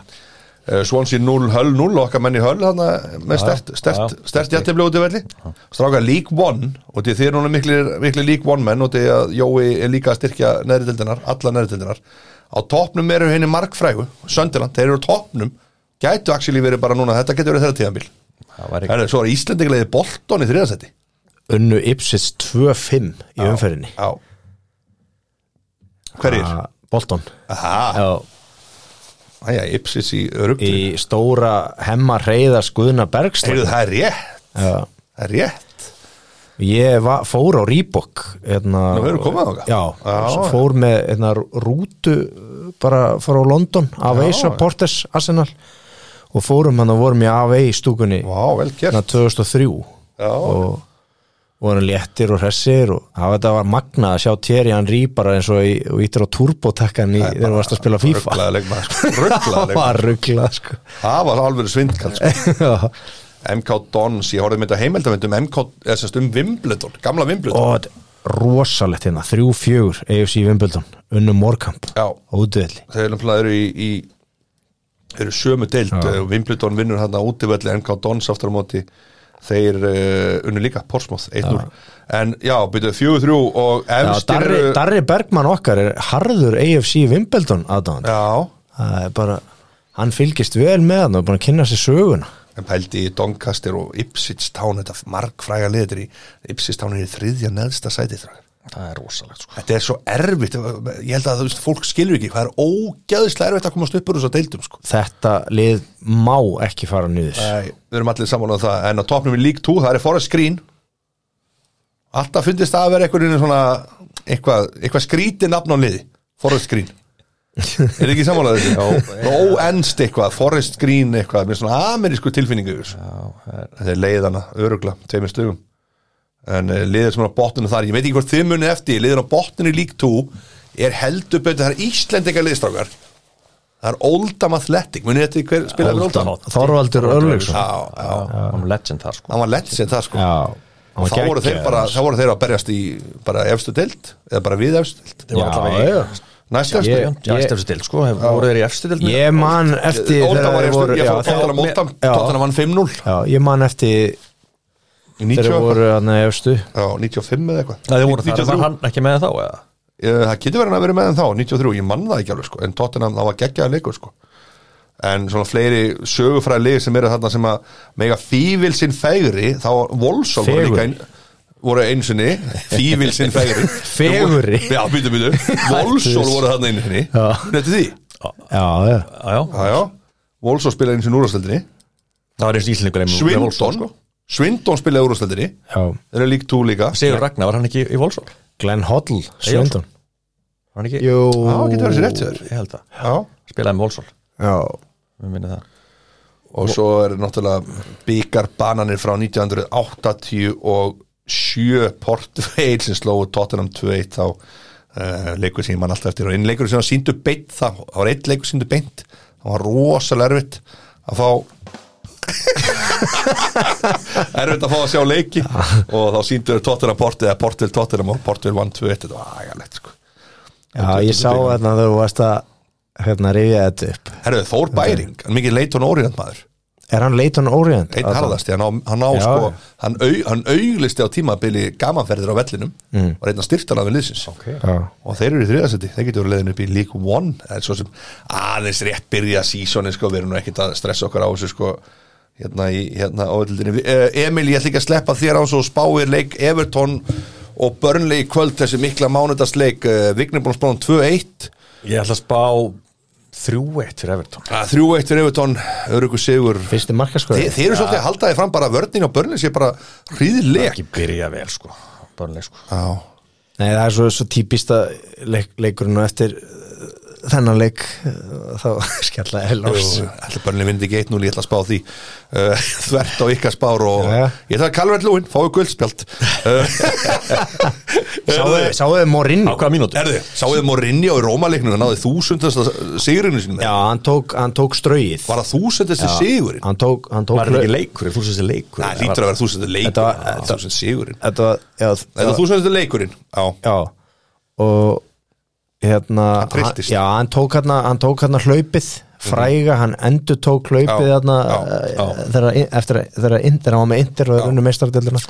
Eh, Swansea 0, Hull 0 okkar menn í Hull hana, með stert, stert,
já.
stert jættiflega út í velli stráka League 1 og því þeir eru núna miklir, miklir League 1 menn og því að Jói er líka að styrkja neðri dildinar, alla neðri dildinar á topnum eru henni markfrægu Söndiland, þeir eru á topnum gætu axili verið bara núna, þetta getur verið þeirra tíðanbíl
Það var ekki
Herðu, svo er Íslendingleiði Bolton í þriðasetti
unnu Ipsis 2-5 í umferðinni
Já Hverjir?
Ah, Bolton
Aha,
Já,
æja, Ipsis í örugli
Ah. í stóra hemma reyða skuðuna
Heyrðu,
Bergstein
það er rétt Það er rétt
Ég va- fór á Rýbok hérna,
Nú, hefurðu komið þangað?
Já,
Já,
svo
já.
fór með hérna, rútu bara fór á London Aveisa
já.
Portes Arsenal og fórum hann og vorum í Avei stúkunni
Vá, vel gert
hérna 2003
Já.
og vorum léttir og hressir og það þetta var magnað að sjá Thierry Henry bara eins og, í, og ítir á turbotakkan í, þegar þú varst að spila FIFA
Rugglaða leikmaður sko. Rugglaða
Það
leikmaður
var rugglað sko
Það var alveg svindkall sko.
Já.
MK Dons, ég horfði mynda heimildamind um MK, eða semst um Wimbledon, gamla Wimbledon
og þetta er rosalegt hérna, 3-4 AFC Wimbledon, unnum Morkamp
Já.
ódöðli
Þeir náttúrulega eru í, í eru sömu deild,
Já.
eh, Wimbledon vinnur hann að útivelli MK Dons aftur á móti þeir uh, unnu líka, Portsmouth 1-0, en já, byrjuðu 4-3 og
Já,
efstir
Darri,
eru
Darri Bergman okkar er harður AFC Wimbledon aðdáðan
Já,
það er bara, hann fylgist vel með hann og er búin að kynna sér söguna
en pældi í Doncaster og Ipswich Town, þetta markfræga liður í Ipswich Town er í þriðja neðsta sætið þrákar
Það er rosalegt sko
Þetta er svo erfitt, ég held að þú veist, fólk skilur ekki, hvað er ógeðislega erfitt að komast upp úr þess að deildum sko.
þetta lið má ekki fara nýður
Nei, við erum allir saman á það, en á topnum í League 2, það er Forest Green Alltaf fyndist það að vera einhvern veginn svona, eitthvað, eitthvað skrítið nafn á liði, Forest Green Er þið ekki saman á þessu? Óenst eitthvað, Forest Green eitthvað, mér er svona amerísku tilfinningu yfir þessu. Þetta er leiðana, örugla, tveimur stugum En eh, liðið sem er á botninu þar, ég veit ekki hvort þið munið eftir, liðið er á botninu í League 2 er heldur betur, það er Íslendinga liðstrákar það er Oldham Athletic munið þetta í hver spilaði með Oldham
Þorvaldur Örlöksson
já, já,
Hann var legend þar sko
hann var legend það sko
Já,
og þá voru, þeir bara, þá voru þeir að berjast í bara efstu deild, eða bara við efstu deild
Þeir voru
Já,
allavega í-
já.
næst efstu
Ég-
yeah.
Já, efstu efstu dild sko, hef- voru þeir í efstu dild
Ég man eftir
Oldham var
þeir
efstu,
voru-
ég
já,
fór að
þeir-
tala um Oldham
Já.
Tottenham vann 5-0
Já, ég man eftir
í
þeir
90
voru hann efstu
já, 95 eða eitthvað
Það voru þar,
93.
var hann ekki með þá eða?
Eh, það getur verið hann að vera með en þá 93, ég mann það ekki alveg sko en Tottenham það var geggjaða leikur sko en svona fleiri sögufræði lið sem eru þarna sem að mega fífil sinn fegri þá Volsov voru líka ein, voru einu sinni fífil sinn fegri
Fegurri?
já, býtu, býtu Volsov voru þarna einu sinni
Já.
nefnir því
Já, já
Já, já,
já, já Volsov spilaði einu sinni úrvastöldinni
það var eins og Íslendingur einmitt með sko.
sko.
Volsól,
Svindon Svindon spilaði úrvastöldinni
Já,
þeir eru lík tú líka
Sigur Ragnar, var hann ekki í Volsól?
Glenn Hoddle, Svindon
Var hann ekki?
Jú
já, getur verið sér rétt þér
Ég held það
já
Spilaði með Volsól,
Já,
við minni það
og svo er náttúrulega byggarbananir frá 1987 og sjö portveil sem slóðu Tottenham 2-1 þá uh, leikur sem ég mann alltaf eftir og einn leikur sem síndu beint það, það var einn leikur síndu beint það var rosalega erfitt að fá erfitt að fá að sjá leiki og þá síndu þeir Tottenham portið eða portveil Tottenham og portveil 1-2-1 þetta var agalegt sko
já ég sá þarna þegar þú varst að hérna rifja þetta upp
Herðu, Þór Bæring, hann er mikið Leighton Orient maður
Er hann Leighton Orient?
einn harðasti, hann á, hann á
Já.
sko hann, au, hann auglisti á tímabili gamanferðir á vellinum, mm. var einn að styrtala við liðsins okay.
Já.
og þeir eru í þriðasetti þeir getur leðin upp í League One það er svo sem aðeins rétt byrja sísoni sko, við erum nú ekkert að stressa okkar á þessu sko hérna í, hérna á öllindinni uh, Emil, ég ætla ekki að sleppa þér á svo spáir leik Everton og Burnley í kvöld þessi mikla mánudagsleik uh, Vignir búin að spána 2-1
Ég ætla að spá 3-1 fyrir Everton
Ah, 3-1 fyrir Everton, Örugu Sigur Þi,
Fyrsti markaskur
Þeir eru svolítið að halda þið fram bara að vörnin á Burnley sé bara hríðileg
Ekki byrja vel sko Börnleg sko
Já,
Nei, það er svo, svo típist að leik, leikurinn og eftir uh, þennan leik uh, þá skjalla Elors
Ætla börnlega vindi ekki 1-0, ég ætla að spá því uh, Þvert á ykkar spár og
Jæja.
Ég ætla að kalva þetta lúin, fáu guldspjald uh,
Sáu þið Morinni?
Á hvaða mínútu?
Erðu, sáuðu Morinja í Rómaleiknum Það náði þúsundast sigurinu sinni
Já, hann tók, hann tók strauið
Var það þúsundast sigurinn?
Hann tók, hann tók
Var þetta ekki leikur? Þú sem þessi leikur
Það lítur að vera þúsundast
Þetta var-
leikurinn Þúsundast sigurinn
Þetta var, já,
Þetta þúsundast leikurinn Já,
já Og hérna
trylltist.
Já, hann tók hérna, hann tók hérna hlaupið fræga, hann endur tók
Mhm.
hlaupið
Já,
þarna
já, já.
eh, þegar eftir að- þegar að- þegar hann var með Inter og unnu meistardildina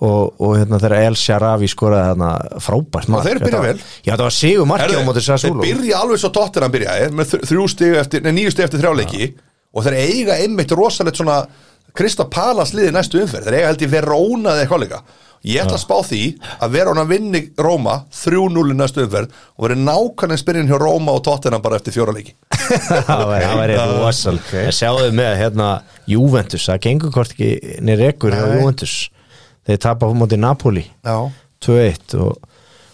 og, og hérna þegar El Sharavi skoraði þarna frábært mark
þeir byrja
Þetta-
vel.
Já, það var sigur markið á
Herðu,
móti
þeir
Sassúlu
byrja alveg svo tóttir hann byrjaði eh, með þr- þrjú stig eftir, nei, nýju stig eftir þrjáleiki og þeir eiga einmitt rosalegt svona Krista Palas liði næstu umferð þeir eiga held í Verona eða eitthvað líka ég ætla að spá því að Verona vinni Róma 3-0 í næstu umferð og verið nákvæmlega spyrjun hjá Róma og Tottenham bara eftir fjóra leiki
það væri- það væri rosal okay. sjáðu með hérna Juventus, það gengur hvort ekki niður ekkur hjá
Nei.
Juventus þeir tapa á móti Napoli
Já.
2-1 og,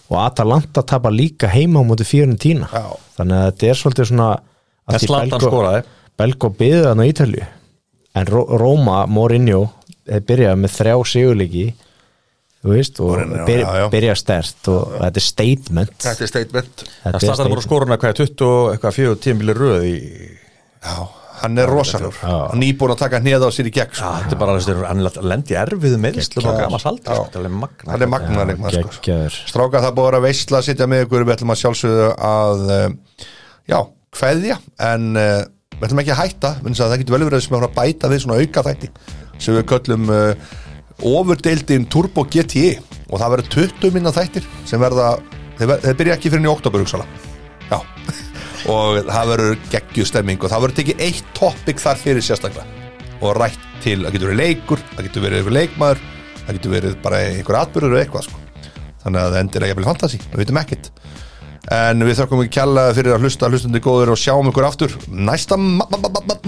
og Atalanta tapa líka heima á móti Fiorentina
Já.
þannig að þetta er svolítið svona að því
Zlatan
Belgo-
skoraði.
Belgo byðu hann á Ítalju en Ró Róma, Mourinho þeir byrjaði með þrjá sigurleiki þú veist, og
Mourinho,
byrja,
já, já.
byrja stert og þetta er statement þetta
þetta er statement
er
Það startaði bara
statement.
skoruna hvað er 20 og eitthvað 4 tímili röð í
Já, hann er rosalur hann er íbúin að taka hneða á sér í gegn sko.
Þetta er bara þess að hann lendi erfiðu meðslu og gama saldi
Já.
sko. Þetta er alveg magna
hann er sko. magnaðleik
geggjaður.
stráka það búið að vera veistla að sitja með ykkur við ætlum að sjálfsögðu að eh, já, kveðja en uh, við ætlum ekki að hætta minnst að það getur vel verið sem að bæta við svona auka þætti sem við köllum uh, ofurdeildin Turbo GTI og það verður 20 minna þættir sem verða, þeir, ver, þeir byrja ekki fyrir enn í oktober hugsaðlega. já, og það verður geggjuð stemming og það verður tekið eitt topic þar fyrir sérstaklega og rætt til, það getur verið leikur það getur verið einhver leikmaður það getur verið bara einhver atbyrður eða eitthvað sko þannig að það endir að jafnvel fantasi, við veitum ekkert en við þökkum ekki kjalla fyrir að hlusta hlustandi góður og sjáum ykkur aftur næsta ma- ma- ma- ma- ma-